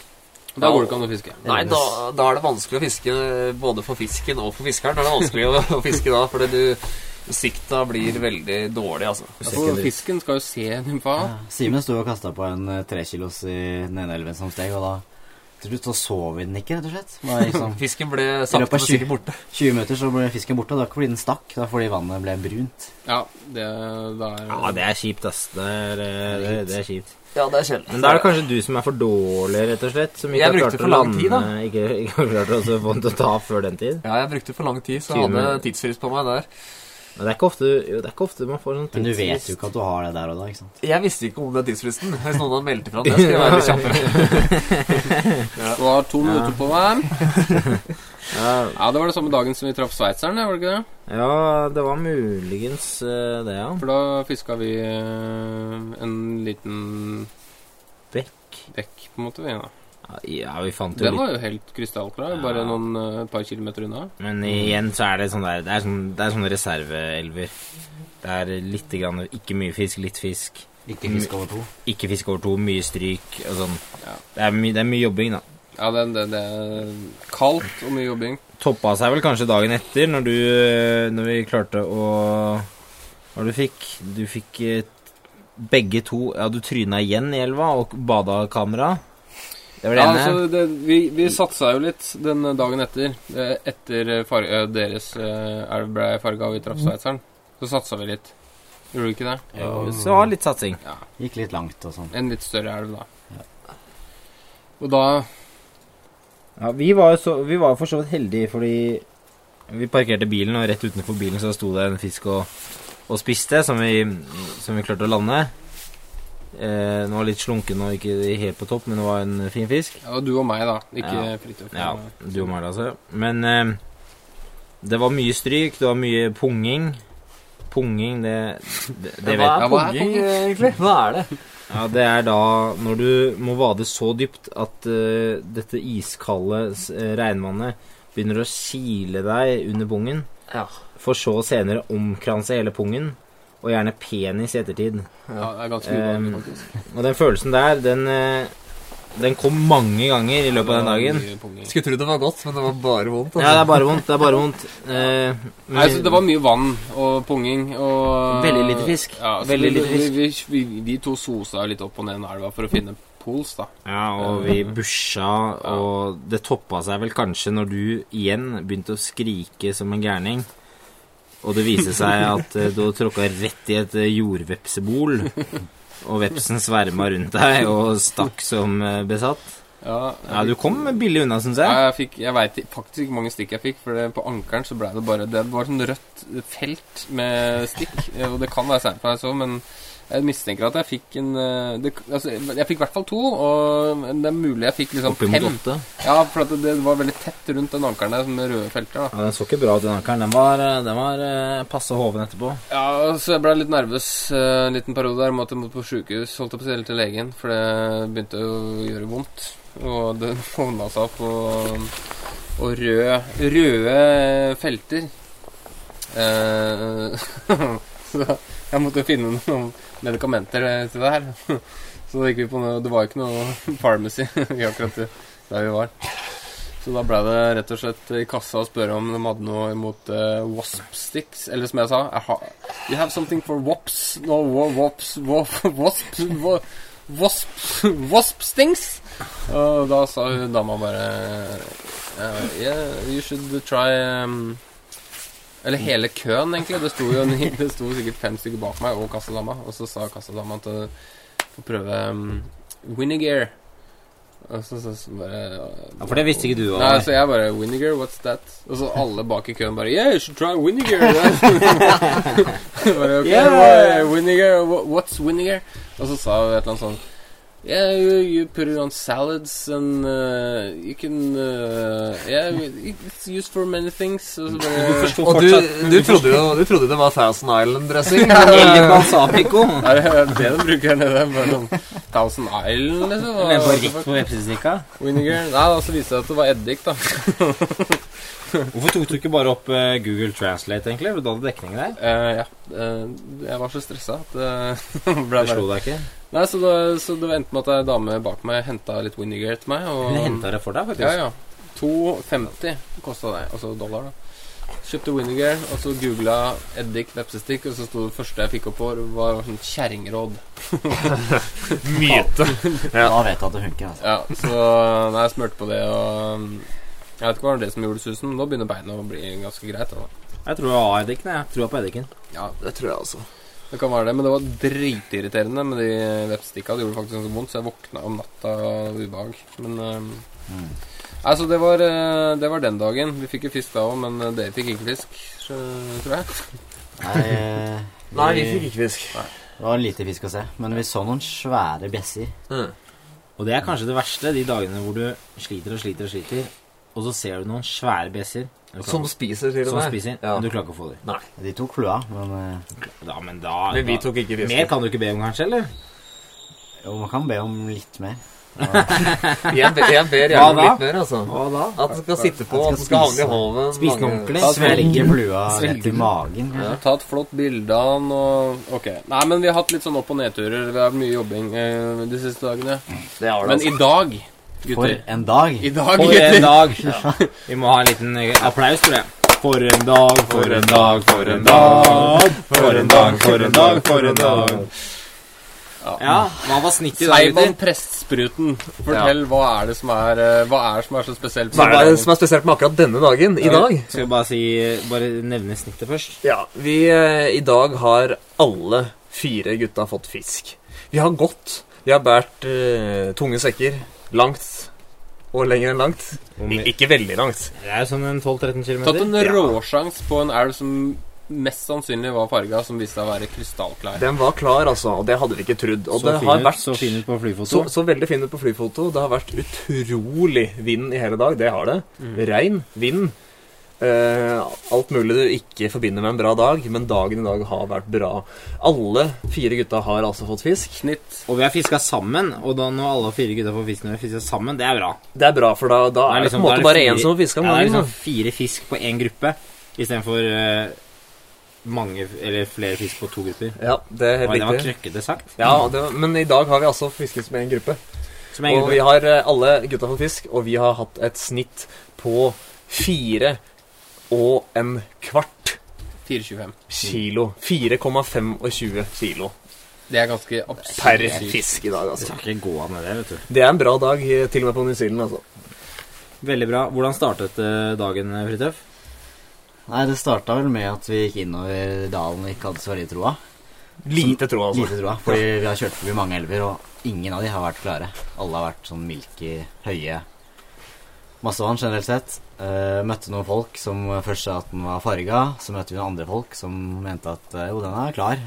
Speaker 2: Da går det ikke an å fiske.
Speaker 4: Nei, da, da er det vanskelig å fiske eh, både for fisken og for fiskeren. Da er det vanskelig å, [LAUGHS] å fiske da, fordi du Sikta blir veldig dårlig, altså.
Speaker 1: [LAUGHS]
Speaker 2: Ja, for fisken skal jo se nymfa.
Speaker 3: Ja, Simen sto og kasta på en eh, trekilos i den ene elven som steg, og da til slutt så så vi den ikke, rett og slett. Bare
Speaker 1: Sånn.
Speaker 3: liksom,
Speaker 4: Fisken ble
Speaker 3: I
Speaker 4: sakte,
Speaker 3: løpet av
Speaker 4: men sikkert
Speaker 3: 20
Speaker 4: borte.
Speaker 3: 20 minutter så ble fisken borte, og det var ikke fordi den stakk, det var fordi vannet ble brunt.
Speaker 2: Ja, det da er
Speaker 1: Ja, det er kjipt, ass. Det er, eh, det, det er kjipt.
Speaker 4: Ja, det er kjedelig.
Speaker 1: Men da er det kanskje du som er for dårlig, rett og slett? Som ikke
Speaker 4: Jeg
Speaker 1: har
Speaker 4: brukte
Speaker 1: klart
Speaker 4: for
Speaker 1: å
Speaker 4: lang tid, da.
Speaker 1: lande- Ikke, ikke har klart å få den til å ta før den tid.
Speaker 4: Ja, jeg brukte for lang tid, så jeg
Speaker 1: Time.
Speaker 4: hadde tidsfrist på meg der.
Speaker 1: Men det er ikke ofte, jo, det er ikke ofte man får sånn
Speaker 3: Men du vet jo ikke at du har det der og da, ikke sant.
Speaker 4: Jeg visste ikke om den tidsfristen. Hvis noen hadde meldt ifra om det, skulle jeg være litt
Speaker 1: [LAUGHS]
Speaker 4: kjappere.
Speaker 2: Du har to minutter på hver.
Speaker 1: Ja,
Speaker 2: Ja, det var det samme dagen som vi traff sveitseren, var det ikke det?
Speaker 1: ja, det var muligens eh, det, ja.
Speaker 2: For da fiska vi eh, en liten
Speaker 1: Bekk.
Speaker 2: dekk, på en måte. vi, da.
Speaker 1: Ja, Ja, vi fant jo
Speaker 2: Den
Speaker 1: litt
Speaker 2: var jo helt krystallklar, bare
Speaker 1: Ja.
Speaker 2: noen eh, par kilometer unna.
Speaker 1: Men igjen så er det sånn der Det er sånn, det er sånne reserveelver. Det er litt grann Ikke mye fisk, litt fisk.
Speaker 3: Ikke fisk over to.
Speaker 1: Ikke fisk over to, mye stryk og sånn.
Speaker 2: Ja.
Speaker 1: Det er, my, det er mye jobbing, da.
Speaker 2: Ja, det, det, det er kaldt og mye jobbing.
Speaker 1: toppa seg vel kanskje dagen etter, når, du, eh, når vi klarte å Hva du fikk? Du fikk eh, begge to Ja, du tryna igjen i elva og bada kamera. Det var det
Speaker 2: Ja,
Speaker 1: ene.
Speaker 2: altså, det, vi, vi satsa jo litt den dagen etter. Eh, Etter far, eh, deres eh, elv ble farga og vi
Speaker 1: Mm.
Speaker 2: traff sveitseren, så satsa vi litt. Gjorde vi ikke det?
Speaker 3: Jo.
Speaker 1: Så det var litt satsing.
Speaker 3: Gikk litt langt og sånn.
Speaker 2: En litt større elv, da. Og da
Speaker 1: Ja, vi var jo så- vi var jo for så vidt heldige, fordi vi parkerte bilen, og rett utenfor bilen så sto det en fisk og, og spiste, som vi, som vi klarte å lande. Eh, den var litt slunken og ikke helt på topp, men det var en fin fisk.
Speaker 2: Ja, det var du og meg, da. Ikke
Speaker 1: Ja.
Speaker 2: Fridtjof. eh,
Speaker 1: Ja,
Speaker 4: Eh,
Speaker 1: du og Marla, altså. Men eh, det var mye stryk, det var mye punging. Punging, det, det, det vet
Speaker 2: Ja,
Speaker 4: Hva er
Speaker 2: hva er
Speaker 4: punging, egentlig? Hva er det?
Speaker 1: Ja, det er da når du må vade så dypt at eh, dette iskalde s- eh, regnvannet begynner å kile deg under pungen,
Speaker 4: Ja.
Speaker 1: for så senere omkranse hele pungen, og gjerne penis i ettertid.
Speaker 2: Ja, det er ganske ubehagelig,
Speaker 1: Ehm,
Speaker 2: faktisk.
Speaker 1: Og den følelsen der, den eh, Den kom mange ganger i løpet av den dagen.
Speaker 2: Det var mye punger.
Speaker 4: Skulle tro det var godt, men det var bare vondt.
Speaker 1: Ja, det er bare vondt. Det er bare vondt. Eh, men-
Speaker 2: Nei, så det var mye vann og punging og
Speaker 1: Veldig lite fisk.
Speaker 2: Ja, så
Speaker 1: Veldig
Speaker 2: vi-
Speaker 1: lite fisk.
Speaker 2: Vi, vi, vi, vi to sosa litt opp og ned i elva for å finne pools, da.
Speaker 1: Ja, og vi busha, og det toppa seg vel kanskje når du igjen begynte å skrike som en gærning. Og det viste seg at eh, du tråkka rett i et eh, jordvepsebol, og vepsen sverma rundt deg og stakk som eh, besatt.
Speaker 2: Ja, jeg
Speaker 1: Ja, du
Speaker 2: fikk-
Speaker 1: kom billig unna, syns jeg.
Speaker 2: Ja, jeg fikk, jeg veit faktisk ikke hvor mange stikk jeg fikk, for det, på ankeren så ble det bare Det var sånn rødt felt med stikk, eh, og det kan være seint for meg så, men jeg mistenker at jeg fikk en eh, det, altså, Jeg fikk i hvert fall to, og men det er mulig jeg fikk liksom
Speaker 1: Oppimot
Speaker 2: fem.
Speaker 1: åtte.
Speaker 2: Ja, for at det, det var veldig tett rundt den ankeren der, sånn med røde felter, da.
Speaker 1: Ja, Den så ikke bra ut, den ankeren. Den var, eh, den var eh, passe hoven etterpå.
Speaker 2: Ja, så jeg ble litt nervøs eh, en liten periode der. Måtte måtte på sjukehus, holdt jeg på å si, eller til legen, for det begynte å gjøre vondt. Og det [LAUGHS] hovna seg opp, og, og røde, røde felter. Eh, [LAUGHS] så jeg måtte finne noen medikamenter til det her. [LAUGHS] Så da gikk vi på noe Det var jo ikke noe [LAUGHS] pharmacy i akkurat der vi var. Så da ble det rett og slett i kassa å spørre om de hadde noe imot eh, wasp sticks. Eller som jeg sa I ha- You have something for wops No, wa- wops wa- Wasp wa- Wasp Wasp stings. Og da sa hun dama bare eh, Yeah, you should try um, Eller hele køen, egentlig. Det sto jo [LAUGHS] en, det sto sikkert fem stykker bak meg og kassadama. Og så sa kassadama at eh, få prøve um, Winnegear. Og så, så, så bare
Speaker 1: Ja, For det visste ikke du.
Speaker 2: Nei,
Speaker 1: Håvard.
Speaker 2: så jeg bare Winnegar, what's that? Og så alle bak i køen bare Yeah, you should try Winnegar.
Speaker 1: [LAUGHS]
Speaker 2: [LAUGHS] bare, okay,
Speaker 1: Yeah.
Speaker 2: yeah. Winnegar, wha- what's Winnegar? Og så sa hun et eller annet sånn Yeah, you, you put it on salads and uh, you can uh, Yeah, it's used for many things. Og så bare
Speaker 4: Og du, du, trodde jo, du trodde det var Thousand
Speaker 1: [LAUGHS]
Speaker 4: Island-dressing. eh,
Speaker 1: Eller balsamico.
Speaker 2: [LAUGHS] Er det det de bruker her nede? Bare sånn Thousand Island, liksom? og-
Speaker 1: Men bare rett på vepsestikka.
Speaker 2: Vinegar. Nei, da, så viste det seg at det var eddik, da.
Speaker 1: Hvorfor tok du ikke bare opp eh, Google Translate, egentlig? For du hadde dekning der.
Speaker 2: Eh, ja. eh, jeg var så stressa at det [LAUGHS] ble
Speaker 1: Det
Speaker 2: bare
Speaker 1: slo deg ikke?
Speaker 2: Nei, så det, så det endte med at ei dame bak meg henta litt Winnegar til meg. Og,
Speaker 1: Hun henta det for deg, faktisk.
Speaker 2: Ja, ja. 2,50 kosta det. Altså dollar, da. Kjøpte Winnegar, og så googla eddik vepsestikk, og så sto det første jeg fikk opp på, var sånn kjerringråd.
Speaker 4: Myte.
Speaker 3: Da vet du at det funker. Altså.
Speaker 2: Ja, [LAUGHS] så nei, jeg smurte på det, og mm, jeg vet ikke hva var det som gjorde susen, men nå begynner beina å bli ganske greit. Da.
Speaker 1: Jeg tror jeg har eddiken. Jeg tror på eddiken.
Speaker 2: Ja,
Speaker 4: Det tror jeg, altså.
Speaker 2: Det kan være det, men det var dritirriterende med de vepsestikka. Det gjorde faktisk ganske vondt, så jeg våkna om natta av ubehag. Men ehm,
Speaker 3: Mm.
Speaker 2: Altså, det var, eh, det var den dagen. Vi fikk jo fisk da òg, men eh, dere fikk ikke fisk, så- tror jeg.
Speaker 3: Nei, eh,
Speaker 4: Nei, vi fikk ikke fisk.
Speaker 3: Det var lite fisk å se, men vi så noen svære bjesser.
Speaker 4: Mm.
Speaker 1: Og det er kanskje det verste, de dagene hvor du sliter og sliter og sliter, og så ser du noen svære bjesser eller
Speaker 4: Som
Speaker 1: sånn,
Speaker 4: spiser, til og
Speaker 1: som
Speaker 4: med.
Speaker 1: spiser,
Speaker 4: Ja.
Speaker 1: men du klarer ikke å få dem.
Speaker 3: De tok kloa, men eh,
Speaker 1: Ja, men da,
Speaker 4: Men vi
Speaker 1: da
Speaker 4: tok ikke
Speaker 1: Mer
Speaker 4: fisken.
Speaker 1: kan du ikke be om, kanskje? eller?
Speaker 3: jo, man kan be om litt mer.
Speaker 4: Jeg, be, jeg
Speaker 1: Hva
Speaker 4: ber gjerne om
Speaker 1: da?
Speaker 4: litt mer, altså.
Speaker 1: Hva da?
Speaker 4: At den skal sitte på,
Speaker 3: At
Speaker 4: at
Speaker 3: den
Speaker 4: den
Speaker 3: skal
Speaker 4: skal havne i
Speaker 3: spise.
Speaker 4: hoven.
Speaker 1: Spise den
Speaker 4: mange-
Speaker 1: ordentlig.
Speaker 2: Ja,
Speaker 3: Svelge blua rett i
Speaker 1: Svelge.
Speaker 3: magen.
Speaker 2: Ja.
Speaker 3: Ja.
Speaker 2: Ta et flott bilde av han og Ok. Nei, men vi har hatt litt sånn opp- og nedturer. Vi har hatt mye jobbing eh, de siste dagene.
Speaker 4: Det har det,
Speaker 2: Men
Speaker 4: altså.
Speaker 2: i dag,
Speaker 3: For
Speaker 2: gutter
Speaker 3: en dag!
Speaker 2: I dag,
Speaker 1: For en
Speaker 2: gutter. [LAUGHS]
Speaker 1: dag. [LAUGHS] Vi må ha en liten eh, applaus, tror jeg. For en dag, for en dag, for en dag. For en dag, for en dag, for en dag.
Speaker 2: Ja.
Speaker 1: Ja, hva var snittet i dag,
Speaker 2: Seiban
Speaker 1: gutter?
Speaker 2: Prestspruten, fortell hva er det som er eh, Hva er det som er så spesielt?
Speaker 4: Hva er det
Speaker 2: dagen?
Speaker 4: som er spesielt med akkurat denne dagen? I dag?
Speaker 1: Skal vi bare, si, bare nevne snittet først?
Speaker 4: Ja, vi eh, I dag har alle fire gutta fått fisk. Vi har gått. Vi har båret eh, tunge sekker. Langt. Og lenger enn langt.
Speaker 1: Om
Speaker 4: I,
Speaker 1: vi-
Speaker 4: ikke veldig langt.
Speaker 1: Det er jo sånn en 12-13
Speaker 2: Tatt
Speaker 1: km.
Speaker 2: en råsjans på en elv som mest sannsynlig var farga, som viste seg å være krystallklar.
Speaker 4: Den var klar, altså. Og det hadde vi ikke trodd. Og
Speaker 1: Så
Speaker 4: det
Speaker 1: fin
Speaker 4: har
Speaker 1: ut,
Speaker 4: vært
Speaker 1: så fin ut på flyfoto.
Speaker 4: Så, så veldig fin ut på flyfoto. Det har vært utrolig vind i hele dag. Det har det.
Speaker 1: Mm.
Speaker 4: Regn, vind. eh, alt mulig du ikke forbinder med en bra dag, men dagen i dag har vært bra. Alle fire gutta har altså fått fisk.
Speaker 2: Snitt.
Speaker 1: Og vi har fiska sammen, og da når alle fire gutta får fisk når vi fisker sammen, det er bra.
Speaker 4: Det er bra, for da, da
Speaker 1: Da
Speaker 4: er det på en
Speaker 1: da er
Speaker 4: måte
Speaker 1: det
Speaker 4: bare
Speaker 1: fire-
Speaker 4: én som har fiska om
Speaker 1: Ja, det er
Speaker 4: dagen.
Speaker 1: liksom
Speaker 4: da.
Speaker 1: fire fisk på én gruppe istedenfor uh, mange eller flere fisk på to grupper.
Speaker 4: Ja, det
Speaker 1: Oi,
Speaker 4: er helt
Speaker 1: det var
Speaker 4: riktig.
Speaker 1: krøkkete sagt. Mm.
Speaker 4: Ja, det, men i dag har vi altså fisket med en gruppe.
Speaker 1: Som jeg
Speaker 4: Og vi har eh, alle gutta for fisk, og vi har hatt et snitt på fire og en kvart
Speaker 2: 4,25.
Speaker 4: kilo. 4,25 kilo
Speaker 2: Det er ganske absurd.
Speaker 4: per
Speaker 2: sykt.
Speaker 4: fisk i dag,
Speaker 1: Det
Speaker 4: altså.
Speaker 1: skal ikke gå an med det, vet du.
Speaker 4: Det er en bra dag, eh, til og med på New Zealand, altså.
Speaker 1: Veldig bra. Hvordan startet eh, dagen, Fridtjof?
Speaker 3: Nei, det starta vel med at vi gikk innover dalen og ikke hadde så veldig troa.
Speaker 4: Lite tro, altså.
Speaker 3: Lite troa, fordi vi har kjørt forbi mange elver, og ingen av de har vært klare. Alle har vært sånn milky, høye massevann generelt sett. Eh, møtte noen folk som først sa at den var farga, så møtte vi noen andre folk som mente at eh, jo, den er klar.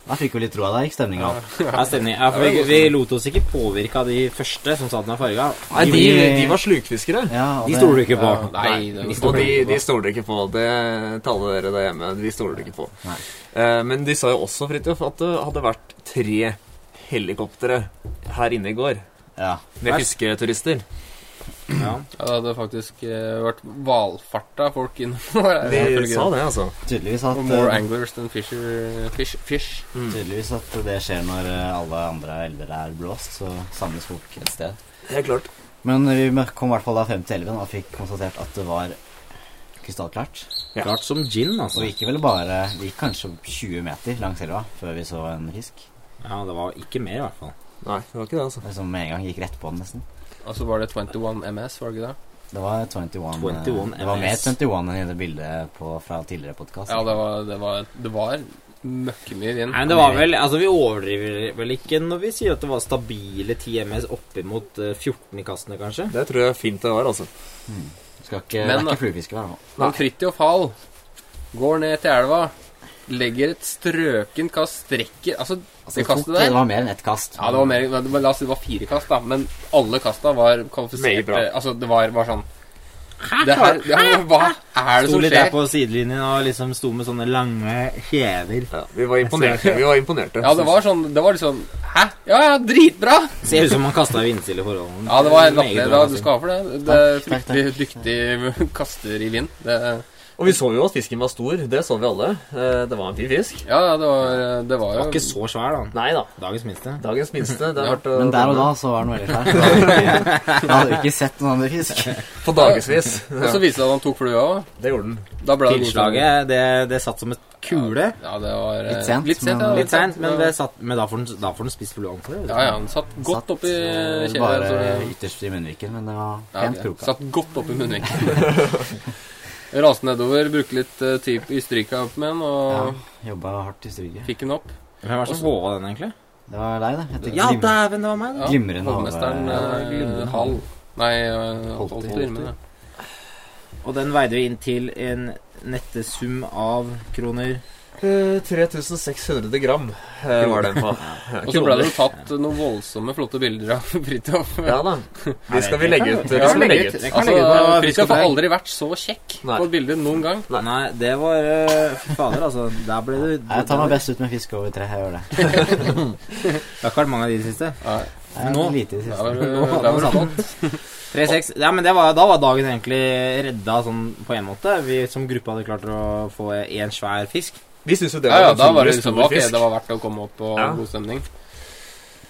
Speaker 3: Da fikk vi litt troa, da gikk stemninga opp.
Speaker 1: Ja, stemning. Ja, for vi, vi lot oss ikke påvirke av de første som sa den er farga.
Speaker 4: Nei, de, de var slukfiskere.
Speaker 3: Ja, og
Speaker 1: De
Speaker 3: det-
Speaker 1: stoler du ikke på.
Speaker 2: Ja, nei, det
Speaker 4: Og
Speaker 2: var
Speaker 4: de, de stoler dere ikke på. Det taler dere der hjemme. De stoler dere ikke på.
Speaker 3: Nei.
Speaker 4: Eh, men de sa jo også, Fridtjof, at det hadde vært tre helikoptre her inne i går.
Speaker 3: Ja.
Speaker 4: Med fisketurister.
Speaker 1: Ja.
Speaker 2: Ja, det hadde faktisk eh, vært valfarta folk innom her.
Speaker 4: De
Speaker 2: [LAUGHS] ifølge-
Speaker 4: sa det, altså.
Speaker 3: Tydeligvis
Speaker 2: Og
Speaker 3: at
Speaker 2: More
Speaker 3: eh,
Speaker 2: anglers than fisher, fish, fish.
Speaker 4: Mm.
Speaker 3: Tydeligvis at det skjer når eh, alle andre elver er blåst, så samles folk et sted.
Speaker 4: Helt klart.
Speaker 3: Men vi kom i hvert fall da frem til elven og fikk konstatert at det var krystallklart.
Speaker 4: Ja.
Speaker 1: Klart som gin,
Speaker 3: Og
Speaker 1: altså.
Speaker 3: vi gikk vel bare vi gikk kanskje 20 meter langs elva før vi så en fisk.
Speaker 1: Ja, det var ikke mer, i hvert fall.
Speaker 4: Nei, det var ikke det, altså.
Speaker 3: Som med en gang gikk rett på den, nesten.
Speaker 2: Og så var det 21 MS, var det ikke det?
Speaker 3: Det var 21, eh,
Speaker 1: 21
Speaker 3: Det var mer
Speaker 1: MS.
Speaker 3: 21 enn i det bildet på, fra tidligere podkast.
Speaker 2: Ja, det var, det var, det var møkkemye vind.
Speaker 1: Nei, men det var vel, altså Vi overdriver vel ikke når vi sier at det var stabile 10 MS oppimot eh, 14 i kastene, kanskje?
Speaker 4: Det tror jeg fint det var, altså.
Speaker 3: Skal ikke,
Speaker 2: Men
Speaker 3: det er
Speaker 2: da-
Speaker 3: ikke fluefiske hver nå.
Speaker 2: Men Fridtjof Hall går ned til elva, legger et strøkent kast, strekker Altså,
Speaker 3: Altså,
Speaker 2: det
Speaker 3: det, tok,
Speaker 2: kastet
Speaker 3: det
Speaker 2: der
Speaker 3: var mer enn ett kast.
Speaker 2: Ja, det var mer men La oss si det var fire kast, da. Men alle kasta var
Speaker 4: Meget
Speaker 2: kvalifiserte.
Speaker 4: bra.
Speaker 2: Altså, det var, var sånn det her, ja, men Hva er det
Speaker 1: Sto
Speaker 2: som
Speaker 1: litt der
Speaker 2: skjer?
Speaker 1: på sidelinjen og liksom sto med sånne lange kjever.
Speaker 4: Ja, vi var imponerte. Vi var imponerte.
Speaker 2: Ja, det var sånn Det var liksom Hæ? Ja, ja, dritbra!
Speaker 1: Ser [LAUGHS] ut som man kasta vindstille forhold.
Speaker 2: Ja, det var helt
Speaker 1: Meget
Speaker 2: latterlig.
Speaker 1: bra
Speaker 2: Da, Du
Speaker 1: kasting.
Speaker 2: skal ha for det. Det er
Speaker 3: Takk, takk,
Speaker 2: fryktelig dyktig kaster i vind. Det,
Speaker 4: Og vi så jo at fisken var stor. Det så vi alle. Eh, Det var en fin fisk.
Speaker 2: ja, ja, det var, det var
Speaker 1: Den
Speaker 2: jo
Speaker 1: var ikke så svær, da.
Speaker 4: Nei da.
Speaker 1: Dagens minste.
Speaker 4: Dagens minste. Det har vært
Speaker 3: Men der og da så var den veldig svær. [LAUGHS] Jeg hadde ikke sett noen andre fisk.
Speaker 4: eh, På dagevis. [LAUGHS]
Speaker 2: Og så viste det seg at han tok flua òg.
Speaker 4: Det gjorde den.
Speaker 2: Da ble det
Speaker 1: Tilslaget, det, det satt som et kule.
Speaker 2: Ja, det var eh,
Speaker 3: Litt sent,
Speaker 2: Litt sent,
Speaker 3: men-
Speaker 2: ja,
Speaker 1: Litt seint, men,
Speaker 2: det
Speaker 1: det satt, men da får den, da får den spist blod ordentlig.
Speaker 2: Ja, ja, han satt godt
Speaker 3: Satt,
Speaker 2: oppi
Speaker 3: eh,
Speaker 2: kjelen.
Speaker 3: Bare
Speaker 2: så-
Speaker 3: ytterst i munnviken, men det var
Speaker 2: altså. Ja,
Speaker 3: pent
Speaker 2: ok.
Speaker 3: kroka.
Speaker 2: Satt godt oppi munnviken. [LAUGHS] Raste nedover, brukte litt eh, tid i stryka opp med den, og
Speaker 3: Ja, jobba hardt i stryket.
Speaker 2: fikk den opp.
Speaker 1: Hvem var det som håva den, egentlig?
Speaker 3: Det var deg, det. Etter
Speaker 1: Ja,
Speaker 3: glim
Speaker 1: dæven, det var meg, da.
Speaker 2: Ja,
Speaker 3: Glimrende
Speaker 2: Hovmesteren
Speaker 3: hale.
Speaker 2: eh,
Speaker 4: Glimrende
Speaker 2: Hall. Nei, eh,
Speaker 3: Holter,
Speaker 2: Holter.
Speaker 3: Holter.
Speaker 2: men, ja.
Speaker 1: Og den veide vi inn til en nette sum av kroner.
Speaker 4: Eh, 3600 gram eh, var den på. [LAUGHS]
Speaker 2: Og så ble det jo tatt noen voldsomme, flotte bilder av [LAUGHS] Fridtjof.
Speaker 4: Ja da. De skal vi legge ut.
Speaker 1: Det
Speaker 4: De
Speaker 1: kan vi
Speaker 4: skal vi
Speaker 1: legge ut.
Speaker 4: legge ut.
Speaker 1: Det kan
Speaker 2: Altså,
Speaker 1: legge ut på Fisk og
Speaker 2: Fridtjof har
Speaker 1: Frøy.
Speaker 2: aldri vært så kjekk
Speaker 4: Nei.
Speaker 2: på et bilde noen gang.
Speaker 4: Nei.
Speaker 1: Nei, det var eh, Fy fader, altså. Der ble det
Speaker 3: Nei, Jeg tar meg best ut med fisk over tre. Jeg gjør det.
Speaker 1: Det har ikke vært mange av de siste.
Speaker 2: Nei,
Speaker 3: Jeg er
Speaker 1: [LAUGHS] Nå?
Speaker 3: Lite i det
Speaker 2: det sånn.
Speaker 3: siste.
Speaker 2: var,
Speaker 1: Nå har
Speaker 2: det
Speaker 1: han
Speaker 2: var
Speaker 1: satt [LAUGHS]
Speaker 2: flott.
Speaker 1: 3-6. Ja, men det var, da var dagen egentlig redda sånn på en måte. Vi som gruppe hadde klart å få én svær fisk.
Speaker 4: Vi syns jo det
Speaker 2: Ja,
Speaker 4: var
Speaker 2: ja,
Speaker 4: en
Speaker 2: da var det
Speaker 4: utrolig
Speaker 2: liksom
Speaker 4: stor
Speaker 2: ok,
Speaker 4: fisk.
Speaker 2: det var verdt å komme opp og
Speaker 4: Ja.
Speaker 2: god stemning.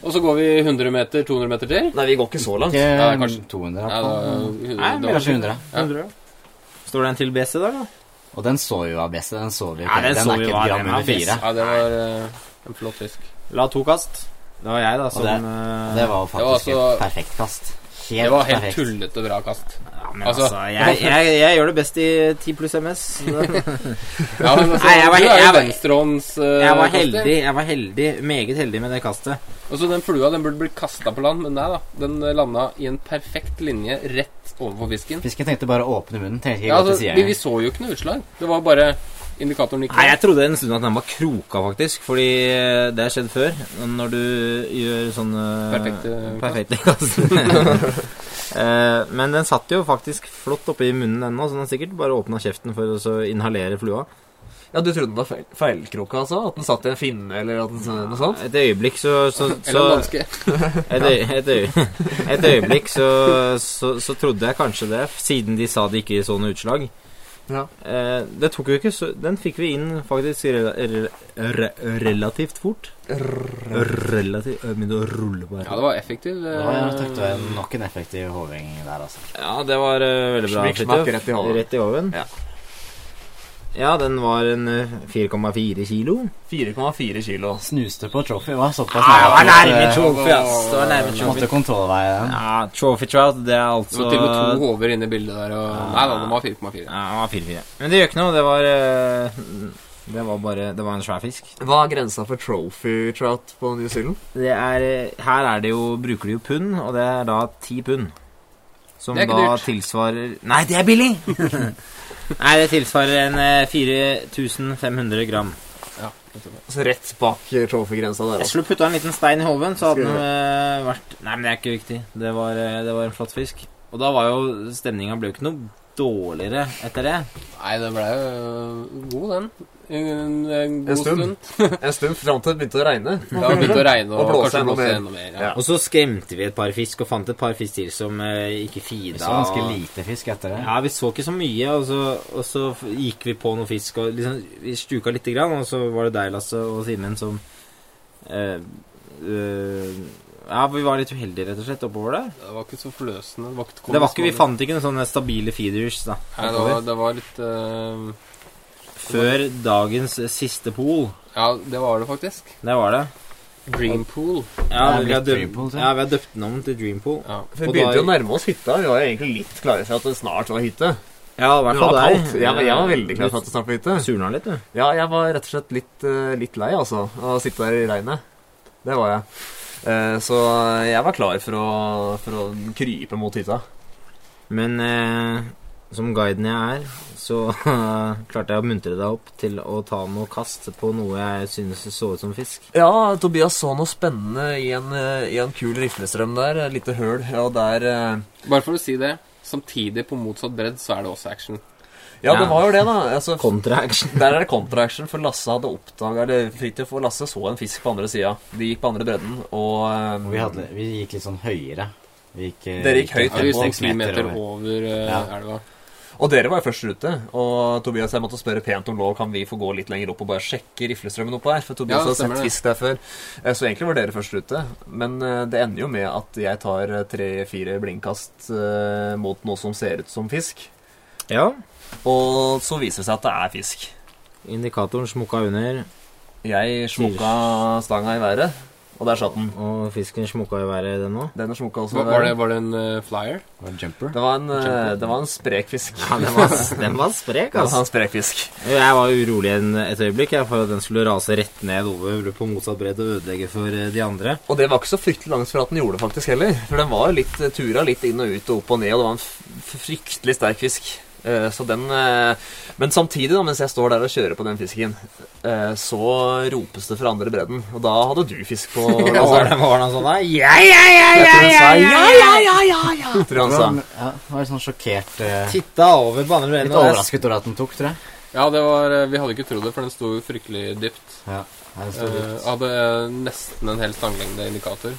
Speaker 2: Og så går vi 100 meter, 200 meter til.
Speaker 4: Nei, vi går ikke så langt.
Speaker 3: Ikke
Speaker 2: Ja, kanskje.
Speaker 3: 200, i
Speaker 2: Ja,
Speaker 3: hvert
Speaker 2: da,
Speaker 3: fall.
Speaker 1: Nei,
Speaker 2: det var-
Speaker 3: Kanskje 100.
Speaker 2: Ja.
Speaker 1: Står det en til BC der, da?
Speaker 3: Og den så vi var best. Den så vi
Speaker 1: Ja, den så
Speaker 3: er
Speaker 1: vi
Speaker 3: ikke
Speaker 1: var-
Speaker 3: et gram
Speaker 1: den er
Speaker 3: under fire.
Speaker 2: Ja, det var eh, en flott fisk.
Speaker 1: La to kast. Det var jeg, da, som eh,
Speaker 3: det- Det var
Speaker 2: Det var
Speaker 3: faktisk
Speaker 2: altså-
Speaker 3: et perfekt kast. Helt,
Speaker 2: Det var helt
Speaker 3: perfekt.
Speaker 2: tullete bra kast.
Speaker 1: Ja, men
Speaker 2: altså-
Speaker 1: altså, jeg, jeg, jeg gjør det best i 10 pluss MS.
Speaker 2: [LAUGHS] Ja, men altså,
Speaker 1: [LAUGHS] Nei, jeg var
Speaker 2: du
Speaker 1: he-
Speaker 2: er jo
Speaker 1: jeg var-
Speaker 2: venstrehånds... eh,
Speaker 1: Jeg var
Speaker 2: kaster.
Speaker 1: heldig, jeg var heldig, meget heldig med det kastet.
Speaker 2: Og så den flua, den burde bli kasta på land, men nei da. Den eh, landa i en perfekt linje rett overfor fisken.
Speaker 3: Fisken tenkte bare å åpne munnen. Tenkte ikke
Speaker 2: Ja,
Speaker 3: gå
Speaker 2: altså,
Speaker 3: til
Speaker 2: vi, vi
Speaker 3: siden.
Speaker 2: så jo ikke noe utslag. Det var bare indikatoren gikk
Speaker 1: Nei, jeg
Speaker 2: ned.
Speaker 1: trodde en stund at den var kroka, faktisk. Fordi eh, det har skjedd før. Når du gjør sånne
Speaker 2: Perfekte
Speaker 1: perfekte [LAUGHS] kast. Eh, Men den satt jo faktisk flott oppi munnen ennå, så den har sikkert bare åpna kjeften for å så inhalere flua.
Speaker 4: Ja, Du trodde den var feil, feilkroka, altså? At den satt i en finne, eller at den, noe sånt?
Speaker 1: Et øyeblikk så, så,
Speaker 2: Sånn. Eller en
Speaker 1: så
Speaker 2: danske.
Speaker 1: Et, øy, et, øy, et øyeblikk så, så, så trodde jeg kanskje det, siden de sa de ikke så noe utslag.
Speaker 4: Ja.
Speaker 1: Eh, det tok jo ikke så Den fikk vi inn faktisk rela, re, re, relativt fort. Relativt Jeg begynte å rulle på
Speaker 2: Ja,
Speaker 1: her.
Speaker 2: det var effektiv.
Speaker 3: Det
Speaker 2: eh,
Speaker 3: var takk, det var nok en effektiv hoving der, altså.
Speaker 1: Ja, det var eh, veldig bra.
Speaker 4: Smikk, smakk,
Speaker 1: Fridtjof.
Speaker 4: rett i hodet.
Speaker 1: Rett i oven.
Speaker 4: Ja.
Speaker 1: Ja, den var en eh, 4,4 kilo.
Speaker 4: 4,4 kilo. altså.
Speaker 3: Snuste på trophy, hva? Såpass
Speaker 1: Ah,
Speaker 3: eh,
Speaker 1: trophy, ass. Det var nærme
Speaker 3: Du måtte kontrollveie den.
Speaker 1: Ja, trophy trout, det er
Speaker 2: Det
Speaker 1: altså
Speaker 2: var til og med to hover inne i bildet der. Og... Nei da, den var 4,4.
Speaker 1: Ja, det var 4-4. Men det gjør ikke noe. Det var eh, Det var bare Det var en svær fisk.
Speaker 4: Hva er grensa for trophy trout på New Zealand?
Speaker 1: Det er eh, Her er det jo Bruker de jo pund, og det er da ti pund. Som
Speaker 2: Det er
Speaker 1: da
Speaker 2: ikke dyrt.
Speaker 1: tilsvarer Nei, det er
Speaker 2: [LAUGHS]
Speaker 1: billig! Nei, det tilsvarer en eh, 4500 gram.
Speaker 2: Ja, jeg tror det.
Speaker 4: Altså rett bak trophy-grensa der.
Speaker 1: Jeg
Speaker 4: Altså.
Speaker 1: skulle putta en liten stein i hoven, så hadde
Speaker 4: Skulle
Speaker 1: den eh, vært Nei, men det er ikke viktig. Det var, eh, det var en flott fisk. Og da var jo stemninga ble jo ikke noe dårligere etter det.
Speaker 2: Nei, den ble jo øh, god, den. En, en, en god
Speaker 4: En stund.
Speaker 2: stund.
Speaker 4: En stund fram til det begynte å regne.
Speaker 2: Det har begynt å regne og,
Speaker 4: Og blåse
Speaker 2: kanskje
Speaker 4: enda
Speaker 2: blåse
Speaker 4: mer.
Speaker 2: enda mer.
Speaker 4: Ja.
Speaker 2: Ja.
Speaker 1: Og så skremte vi et par fisk, og fant et par fisk til som eh, ikke
Speaker 3: Vi
Speaker 1: feeda.
Speaker 3: så ganske
Speaker 1: og-
Speaker 3: lite fisk etter det.
Speaker 1: Ja, vi så ikke så mye, og så, og så f- gikk vi på noe fisk, og liksom, vi stuka lite grann, og så var det deg, Lasse, og Simen som eh, eh, Ja, vi var litt uheldige, rett og slett, oppover der.
Speaker 2: Det var ikke så forløsende. Det var ikke,
Speaker 1: Det var ikke, vi fant ikke noen sånne stabile feeders da,
Speaker 2: Nei, det var, det var litt øh,
Speaker 1: før dagens siste pool.
Speaker 2: Ja, det var det faktisk.
Speaker 1: Det var det.
Speaker 2: Green pool.
Speaker 1: Ja,
Speaker 3: Det
Speaker 1: vi
Speaker 3: er
Speaker 1: har
Speaker 3: blitt
Speaker 1: døpt,
Speaker 3: Dreampool, tror jeg.
Speaker 1: ja, vi har døpt den om til Dreampool.
Speaker 2: Ja.
Speaker 4: For
Speaker 1: Og
Speaker 4: Vi begynte
Speaker 1: da-
Speaker 4: jo å nærme oss hytta. Vi var jo egentlig litt klare for at det snart var hytte.
Speaker 1: Ja, i
Speaker 4: Det
Speaker 1: hvert
Speaker 4: var
Speaker 1: fall deg.
Speaker 4: kaldt. Jeg, var- jeg var veldig klar for at det snart var hytte.
Speaker 1: Du surna litt, du.
Speaker 4: Ja, jeg var rett og slett litt, eh, litt lei, altså, av å sitte der i regnet. Det var jeg. Eh, Så jeg var klar for å, for å krype mot hytta.
Speaker 1: Men eh, som guiden jeg er, så [LAUGHS] klarte jeg å muntre deg opp til å ta noe kast på noe jeg synes så ut som fisk.
Speaker 4: Ja, Tobias så noe spennende i en, eh, i en kul riflestrøm der. Et lite høl. Ja, der eh,
Speaker 2: Bare for å si det. Samtidig, på motsatt bredd, så er det også action.
Speaker 4: Ja, det
Speaker 1: Ja.
Speaker 4: var jo det, da. Altså,
Speaker 1: Kontraaction.
Speaker 4: der er det kontraaction, for Lasse hadde oppdaga Eller Fridtjof og Lasse så en fisk på andre sida. De gikk på andre bredden, og eh,
Speaker 3: Vi, hadde, vi gikk litt sånn høyere. Vi gikk, eh,
Speaker 4: Dere gikk høyt,
Speaker 2: Ja, vi
Speaker 3: tempo,
Speaker 2: seks meter
Speaker 3: over.
Speaker 2: over øh,
Speaker 3: Ja.
Speaker 2: elva.
Speaker 4: Og dere var jo først ute. Og Tobias jeg måtte spørre pent om lov kan vi få gå litt lenger opp og bare sjekke riflestrømmen oppå her. For
Speaker 2: Ja,
Speaker 4: Tobias har
Speaker 2: stemmer
Speaker 4: sett
Speaker 2: det.
Speaker 4: fisk der før. Eh, Så egentlig var dere først ute. Men eh, det ender jo med at jeg tar eh, tre-fire blindkast eh, mot noe som ser ut som fisk.
Speaker 1: [LAUGHS] Ja.
Speaker 4: Og så viser det seg at det er fisk.
Speaker 1: Indikatoren smukka under,
Speaker 4: Jeg smukka stanga i været, og der satt den.
Speaker 1: og fisken smukka i været, den òg.
Speaker 4: Den smukka også
Speaker 2: Var,
Speaker 4: i
Speaker 2: var, det,
Speaker 4: været.
Speaker 2: var det en øh, flyer?
Speaker 3: Var det en Jumper.
Speaker 4: Det var en, eh, det var en sprek fisk.
Speaker 1: Ja, den var, den var sprek,
Speaker 4: Det var
Speaker 1: altså.
Speaker 4: en sprek fisk.
Speaker 1: Jeg var urolig en, et øyeblikk jeg, for at den skulle rase rett ned over på motsatt bredd og ødelegge for eh, de andre. [LAUGHS]
Speaker 4: Og det var ikke så fryktelig langt fra at den gjorde det faktisk heller. For den var jo litt eh, tura litt inn og ut og opp og ned, og det var en f- fryktelig sterk fisk. Eh, Så den eh, Men samtidig, da, mens jeg står der og kjører på den fisken, eh, så ropes det fra andre bredden. Og da hadde du fisk [LAUGHS] på
Speaker 1: Ja, var
Speaker 4: altså,
Speaker 1: det var det sånn der? Ja, ja, ja,
Speaker 4: Jeg
Speaker 1: ja, ja, ja,
Speaker 4: tror hun sa
Speaker 1: ja.
Speaker 4: ja, ja, ja, ja, ja. [LAUGHS] Tror
Speaker 1: Altså-
Speaker 4: jeg han sa.
Speaker 3: Hvordan- Ja, det var litt sånn sjokkert eh,
Speaker 1: Titta over på andre
Speaker 3: Litt
Speaker 1: bredd. og jeg-
Speaker 3: overrasket over at den tok, tror jeg.
Speaker 2: Ja, det var øh, Vi hadde ikke trodd det, for den sto jo fryktelig dypt.
Speaker 3: Ja, Nei, den sto
Speaker 2: Øh,
Speaker 3: litt-
Speaker 2: hadde nesten en hel stanglengde indikator.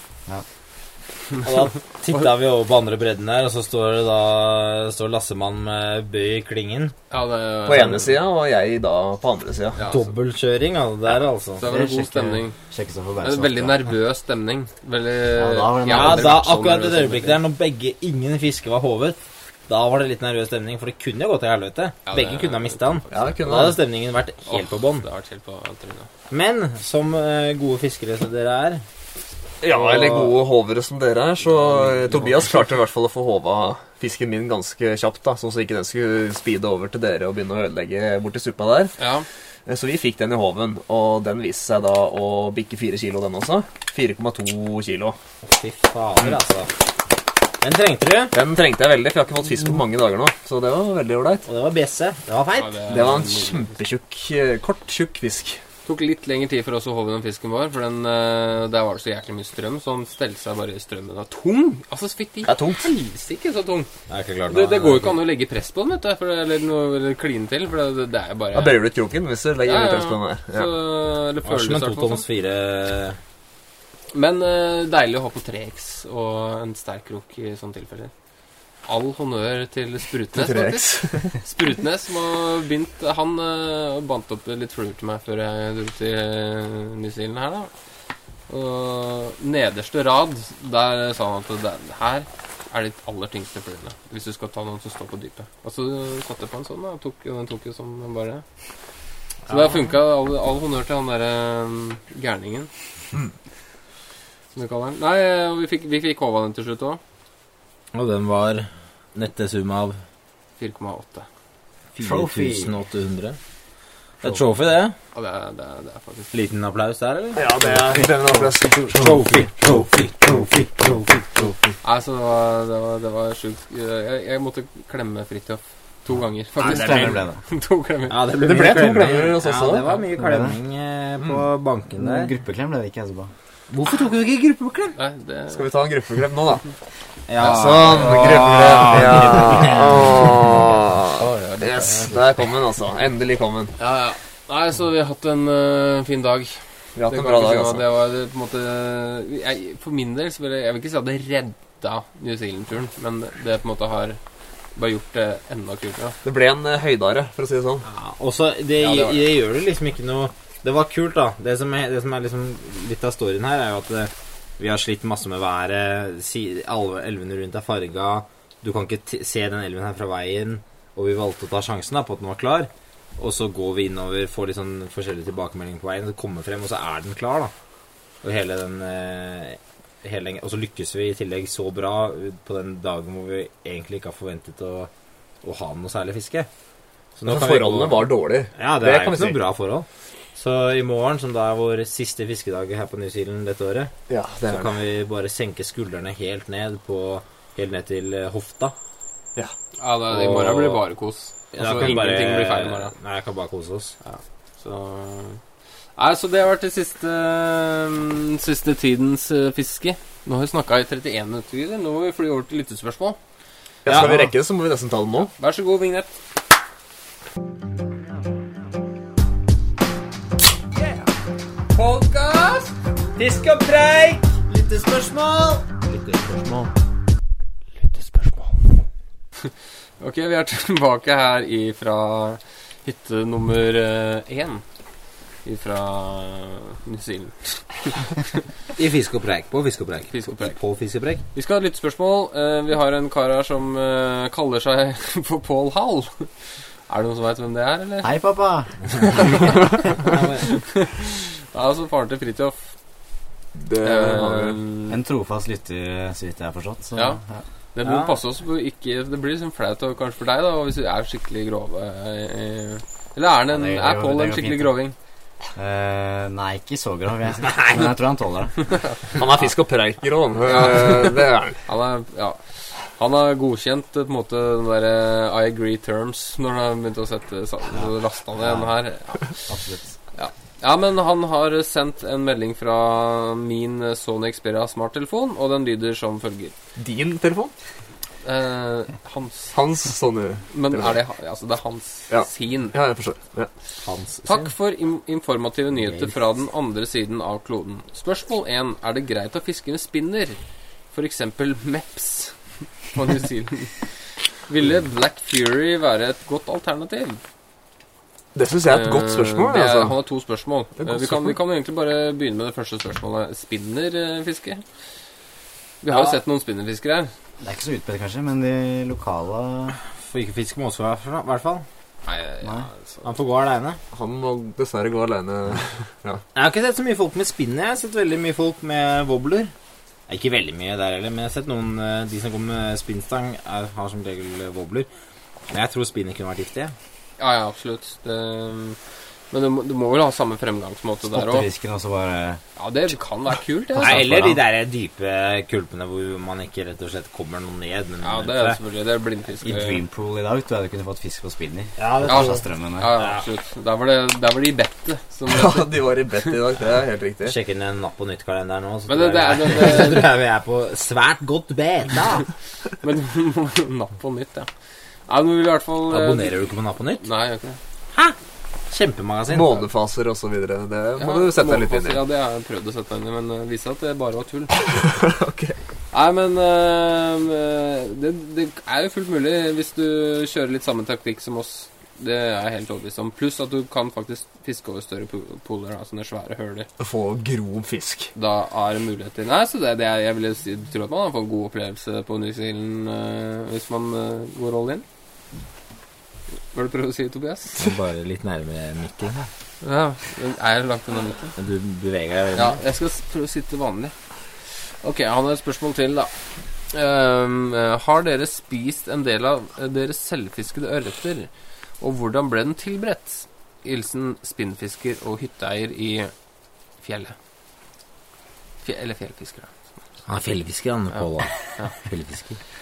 Speaker 1: Og da titta vi over på andre bredden der, og så står det da står Lassemann med bøy i klingen.
Speaker 2: Ja, det-
Speaker 4: På ene sida, og jeg da på andre sida.
Speaker 2: Ja, så,
Speaker 1: Dobbeltkjøring, altså. Der, altså.
Speaker 2: så det var
Speaker 3: Det
Speaker 2: en god
Speaker 3: sjekker-
Speaker 2: stemning.
Speaker 3: Sjekker så
Speaker 2: Det er
Speaker 3: forbauset
Speaker 2: en veldig
Speaker 3: ofte.
Speaker 2: nervøs stemning. Veldig
Speaker 3: Ja, da var det
Speaker 2: Jeg har
Speaker 1: Ja,
Speaker 2: aldri
Speaker 1: da
Speaker 2: vært så
Speaker 1: akkurat
Speaker 2: sånn nervøs
Speaker 1: et
Speaker 2: som
Speaker 1: øyeblikk der, når begge ingen fisker var hovet, da var det litt nervøs stemning, for det kunne jo gå til helvete.
Speaker 2: Ja,
Speaker 1: Begge
Speaker 2: det-
Speaker 1: kunne ha mista den.
Speaker 4: Ja, det
Speaker 1: Da
Speaker 4: kunne
Speaker 1: hadde
Speaker 4: være.
Speaker 1: stemningen vært helt på bånn.
Speaker 2: Åh, Det har vært helt på trynet.
Speaker 1: Men som eh, gode fiskere som dere er
Speaker 4: Ja, eller gode hovere som dere er, så eh, Tobias klarte i hvert fall å få håva fisken min ganske kjapt, da, sånn så ikke den skulle speede over til dere og begynne å ødelegge borti suppa der. Eh,
Speaker 2: Ja,
Speaker 4: Så vi fikk den i hoven, og den viste seg da å bikke 4 kilo, den også. 4,2 kilo.
Speaker 1: Fy fader, altså. Den trengte du,
Speaker 4: Den trengte jeg veldig, for jeg har ikke fått fisk på mange dager nå. Så det var veldig ålreit.
Speaker 1: og det var bjesse. Det var
Speaker 2: ja,
Speaker 1: feit.
Speaker 4: Det var en kjempetjukk, eh, kort, tjukk fisk.
Speaker 2: tok litt lengre tid for oss å håve den fisken vår, for den, eh, der var det så jæklig mye strøm, så den stelte seg bare i strømmen. Og tung! Altså, fytti
Speaker 4: Det er tungt.
Speaker 2: helsike, så tung!
Speaker 1: Det er ikke klart
Speaker 2: Det, det går jo ikke an å legge press på den, vet du, for, eller, noe, eller kline til, for det, det er jo
Speaker 4: Da
Speaker 2: bare
Speaker 4: bøyer du ut kroken hvis du legger
Speaker 2: Ja, ja,
Speaker 4: litt
Speaker 2: ja.
Speaker 4: press på den
Speaker 2: Så,
Speaker 4: der. Ja.
Speaker 2: eller
Speaker 1: Det var som en
Speaker 2: føles i hvert fall
Speaker 1: totoms fire
Speaker 2: sånn. Men eh, deilig å ha på 3X og en sterk krok i sånne tilfeller. all honnør til Sprutnes.
Speaker 4: Til
Speaker 2: faktisk.
Speaker 4: 3X.
Speaker 2: Sprutnes som har bindt Han eh, bandt opp litt fluer til meg før jeg dro til eh, New Zealand her, da. Og nederste rad, der sa han at det, det her er de aller tyngste fluene. Hvis du skal ta noen som står på dypet. Og så satte jeg på en sånn, da. og Tok, og den tok jo som bare Så det
Speaker 1: Ja.
Speaker 2: har funka. All, all honnør til han derre eh, gærningen. Som du kaller den. Nei, eh, vi fikk, vi fikk håva den til slutt òg.
Speaker 1: Og den var nette sum av
Speaker 2: 4,8.
Speaker 3: Trophy.
Speaker 1: 4800. Det er trophy, det.
Speaker 2: Og det, er- det, er- det er faktisk
Speaker 1: Liten applaus der, eller?
Speaker 4: Ja, det er den
Speaker 1: Trophy, trophy, trophy,
Speaker 2: Nei, så det var, det var, det var sjukt. Jeg, jeg måtte klemme Fridtjof to ganger, faktisk.
Speaker 3: Stemmer ble det.
Speaker 2: [LAUGHS] to klemmer.
Speaker 1: Ja, det ble,
Speaker 4: Det ble
Speaker 1: mye
Speaker 4: to klemmer hos oss
Speaker 1: Ja,
Speaker 4: også. Mm.
Speaker 1: det var mye klemming eh, på banken
Speaker 3: En
Speaker 1: der.
Speaker 3: Gruppeklem ble det ikke, altså, jeg så på.
Speaker 1: Hvorfor tok du ikke gruppeklem?
Speaker 2: Nei, det
Speaker 4: Skal vi ta en gruppeklem nå, da?
Speaker 1: Ja,
Speaker 4: Sånn. Gruppeklem.
Speaker 1: Ah.
Speaker 4: [LAUGHS] Ja.
Speaker 1: Å, ja, det-
Speaker 4: Yes. Der kom den, altså. Endelig kom den.
Speaker 2: Ja, ja. Nei, så vi har hatt en øh, fin dag.
Speaker 4: Vi har hatt
Speaker 2: Det
Speaker 4: en
Speaker 2: kan
Speaker 4: bra
Speaker 2: ikke
Speaker 4: dag,
Speaker 2: si hva
Speaker 4: altså.
Speaker 2: Det var det, på en måte jeg, For min del så vil jeg, jeg vil ikke si at det redda New Zealand-turen, men det på en måte har bare gjort det enda kulere.
Speaker 4: Det ble en eh, høydare, for å si det sånn.
Speaker 1: Ja, og så det,
Speaker 2: Ja, det var det.
Speaker 1: det gjør det liksom ikke noe Det var kult, da. Det som er, det som er liksom litt av storyen her, er jo at eh, vi har slitt masse med været. Si, alle elvene rundt er farga. Du kan ikke t se den elven her fra veien. Og vi valgte å ta sjansen da på at den var klar. Og så går vi innover, får litt sånn forskjellige tilbakemeldinger på veien, så kommer frem, og så er den klar, da. Og hele den eh, hele, den- Og så lykkes vi i tillegg så bra ut på den dagen hvor vi egentlig ikke har forventet å, å ha noe særlig fiske. Så nå
Speaker 4: For
Speaker 1: kan vi gå-
Speaker 4: Altså, forholdene var dårlige.
Speaker 1: ja, det,
Speaker 4: Det
Speaker 1: er
Speaker 4: kan
Speaker 1: jo
Speaker 4: vi
Speaker 1: ikke
Speaker 4: si.
Speaker 1: noe bra forhold. Så i morgen, som da er vår siste fiskedag her på New Zealand dette året,
Speaker 4: Ja, det
Speaker 1: så kan vi bare senke skuldrene helt ned på Helt ned til eh, hofta.
Speaker 2: Ja, det, I morgen blir det bare kos.
Speaker 1: Da
Speaker 2: Altså,
Speaker 1: kan vi
Speaker 2: ingenting blir feil i morgen.
Speaker 1: Nei, jeg kan bare kose oss.
Speaker 2: Så Nei, så det har vært det siste mm, Siste tidens eh, fiske. Nå har vi snakka i 31 minutter. Guider. Nå må vi fly over til lyttespørsmål.
Speaker 4: Ja, skal
Speaker 1: Ja.
Speaker 4: vi rekke det, så må vi nesten ta den nå.
Speaker 2: Vær så god, Vignett. Podcast!
Speaker 1: Fisk og preik! Lyttespørsmål! Lyttespørsmål.
Speaker 2: Ok, vi er [LAUGHS] tilbake her ifra hytte nummer eh, én. Ifra eh, New Zealand.
Speaker 1: I Fisk og preik. På Fisk og preik.
Speaker 2: Fisk og preik.
Speaker 1: På Fisk og preik.
Speaker 2: Vi skal ha et lyttespørsmål. Eh, Vi har en kar her som eh, kaller seg [LAUGHS] for Paul Hall. [LAUGHS] Er det noen som veit hvem det er, eller?
Speaker 3: Hei, pappa!
Speaker 2: Det er altså faren til Fridtjof.
Speaker 4: Det
Speaker 2: Eh,
Speaker 3: En trofast lytter, så vidt jeg har forstått. Så,
Speaker 2: Ja. det må
Speaker 1: Ja.
Speaker 2: passe oss på ikke Det blir liksom flaut og kanskje for deg, da, hvis vi er skikkelig grove. eh, Eller er, han en,
Speaker 3: Ja, det går-
Speaker 2: er Pål en
Speaker 3: det går
Speaker 2: skikkelig
Speaker 3: fint.
Speaker 2: groving?
Speaker 3: Eh, nei, ikke så grov, jeg.
Speaker 1: [LAUGHS]
Speaker 3: men jeg tror han tåler det.
Speaker 4: Han er fisk og preiker og eh, Det er han.
Speaker 2: Han er Ja. Han har godkjent eh, på en måte den derre I agree terms når han har begynt å sette sa- så lasta ned den her.
Speaker 3: Absolutt.
Speaker 2: Ja, men han har sendt en melding fra min eh, Sony Xperia smarttelefon, og den lyder som følger.
Speaker 4: Din telefon?
Speaker 2: Eh, hans
Speaker 4: Hans sånne
Speaker 2: Men er det, ha- altså, det er hans
Speaker 4: Ja.
Speaker 2: sin.
Speaker 4: Ja, jeg forstår. Ja.
Speaker 1: Hans
Speaker 2: Takk for im informative nyheter fra den andre siden av kloden. Spørsmål 1. Er det greit å fiske med spinner? For eksempel MEPS [LAUGHS] på New Zealand. Ville Black Fury være et godt alternativ? Eh,
Speaker 4: Det syns jeg er et godt spørsmål.
Speaker 2: Det er, Han
Speaker 4: altså.
Speaker 2: har to spørsmål.
Speaker 4: er et godt
Speaker 2: Eh, Vi kan, vi
Speaker 4: spørsmål.
Speaker 2: kan jo egentlig bare begynne med det første spørsmålet. Spinnerfiske? Vi har jo
Speaker 1: Ja.
Speaker 2: sett noen spinnerfiskere her.
Speaker 3: Det er ikke så utbredt, kanskje, men de lokale
Speaker 1: Får ikke fiske med oss, i hvert fall.
Speaker 2: Nei, ja,
Speaker 3: Nei.
Speaker 2: altså.
Speaker 1: Han får gå aleine.
Speaker 4: Han må dessverre gå aleine.
Speaker 1: Jeg har ikke sett så mye folk med spinner. Jeg har sett veldig mye folk med wobbler. Nei, Ikke veldig mye der heller, men jeg har sett noen eh, De som går med spinnstang, er, har som regel eh, wobbler. Men jeg tror spinner kunne vært giftig. jeg.
Speaker 2: ja, ja, absolutt. Det, men du må, du må vel ha samme fremgangsmåte der òg?
Speaker 3: pottefisken og så bare
Speaker 2: Ja, det kan være kult. det, altså.
Speaker 1: Nei,
Speaker 3: for
Speaker 1: eller de
Speaker 3: han.
Speaker 1: der dype kulpene hvor man ikke rett og slett kommer noe ned. Men
Speaker 2: Ja, det er selvfølgelig det er blindfiske.
Speaker 3: I Dreampool i dag tror jeg du kunne fått fisk og spinner.
Speaker 1: Ja, det
Speaker 2: Ja,
Speaker 1: tror
Speaker 3: Fra
Speaker 1: jeg.
Speaker 3: strømmen
Speaker 2: Ja,
Speaker 3: der.
Speaker 2: ja, absolutt. Der var det, der var det i bettet. Som det
Speaker 4: [LAUGHS] Ja,
Speaker 2: heter.
Speaker 4: de var i bedt i dag. Det er helt riktig.
Speaker 1: Sjekk inn en Napp og nytt-kalender nå, så
Speaker 2: Men
Speaker 1: tror
Speaker 2: det-
Speaker 1: jeg-
Speaker 2: det er- det-
Speaker 1: så tror jeg vi er på svært godt beta.
Speaker 2: Men [LAUGHS] du må jo napp på nytt, ja. Nei, men vi vil i hvert fall eh,
Speaker 1: Abonnerer du ikke på Napp og nytt?
Speaker 2: Nei, jeg gjør ikke det.
Speaker 1: Kjempemagasin.
Speaker 4: Månefaser og så videre. Det må
Speaker 2: Ja,
Speaker 4: du sette deg litt inn
Speaker 2: målefast,
Speaker 4: i.
Speaker 2: eh, Ja, det har jeg prøvd å sette meg inn i, men det viste seg at det bare var tull.
Speaker 4: [LAUGHS] Ok.
Speaker 2: Nei, men eh, det, det er jo fullt mulig hvis du kjører litt samme taktikk som oss. Det er jeg helt overbevist om. Pluss at du kan faktisk fiske over større po- poler, da, sånne svære høler.
Speaker 4: Få grov fisk.
Speaker 2: Da er det muligheter. Nei, så det, det er, jeg vil jo si, tro at man får en god opplevelse på New Zealand eh, hvis man eh, går all in. Hva er det du prøver å si, Tobias?
Speaker 1: Og Bare litt nærmere mikken. da.
Speaker 2: Ja, Er jeg langt unna midten?
Speaker 1: Men Du beveger deg
Speaker 2: Ja, jeg skal s- prøve å sitte vanlig. Ok, han har et spørsmål til, da. Ehm, eh, har dere spist en del av eh, deres selvfiskede ørreter? Og hvordan ble den tilberedt? Hilsen spinnfisker og hytteeier i fjellet. Fje, eller fjellfisker, da.
Speaker 1: Han er fjellfisker, han Pål. [LAUGHS]
Speaker 2: Ja.
Speaker 1: da. Fjellfisker. Eh,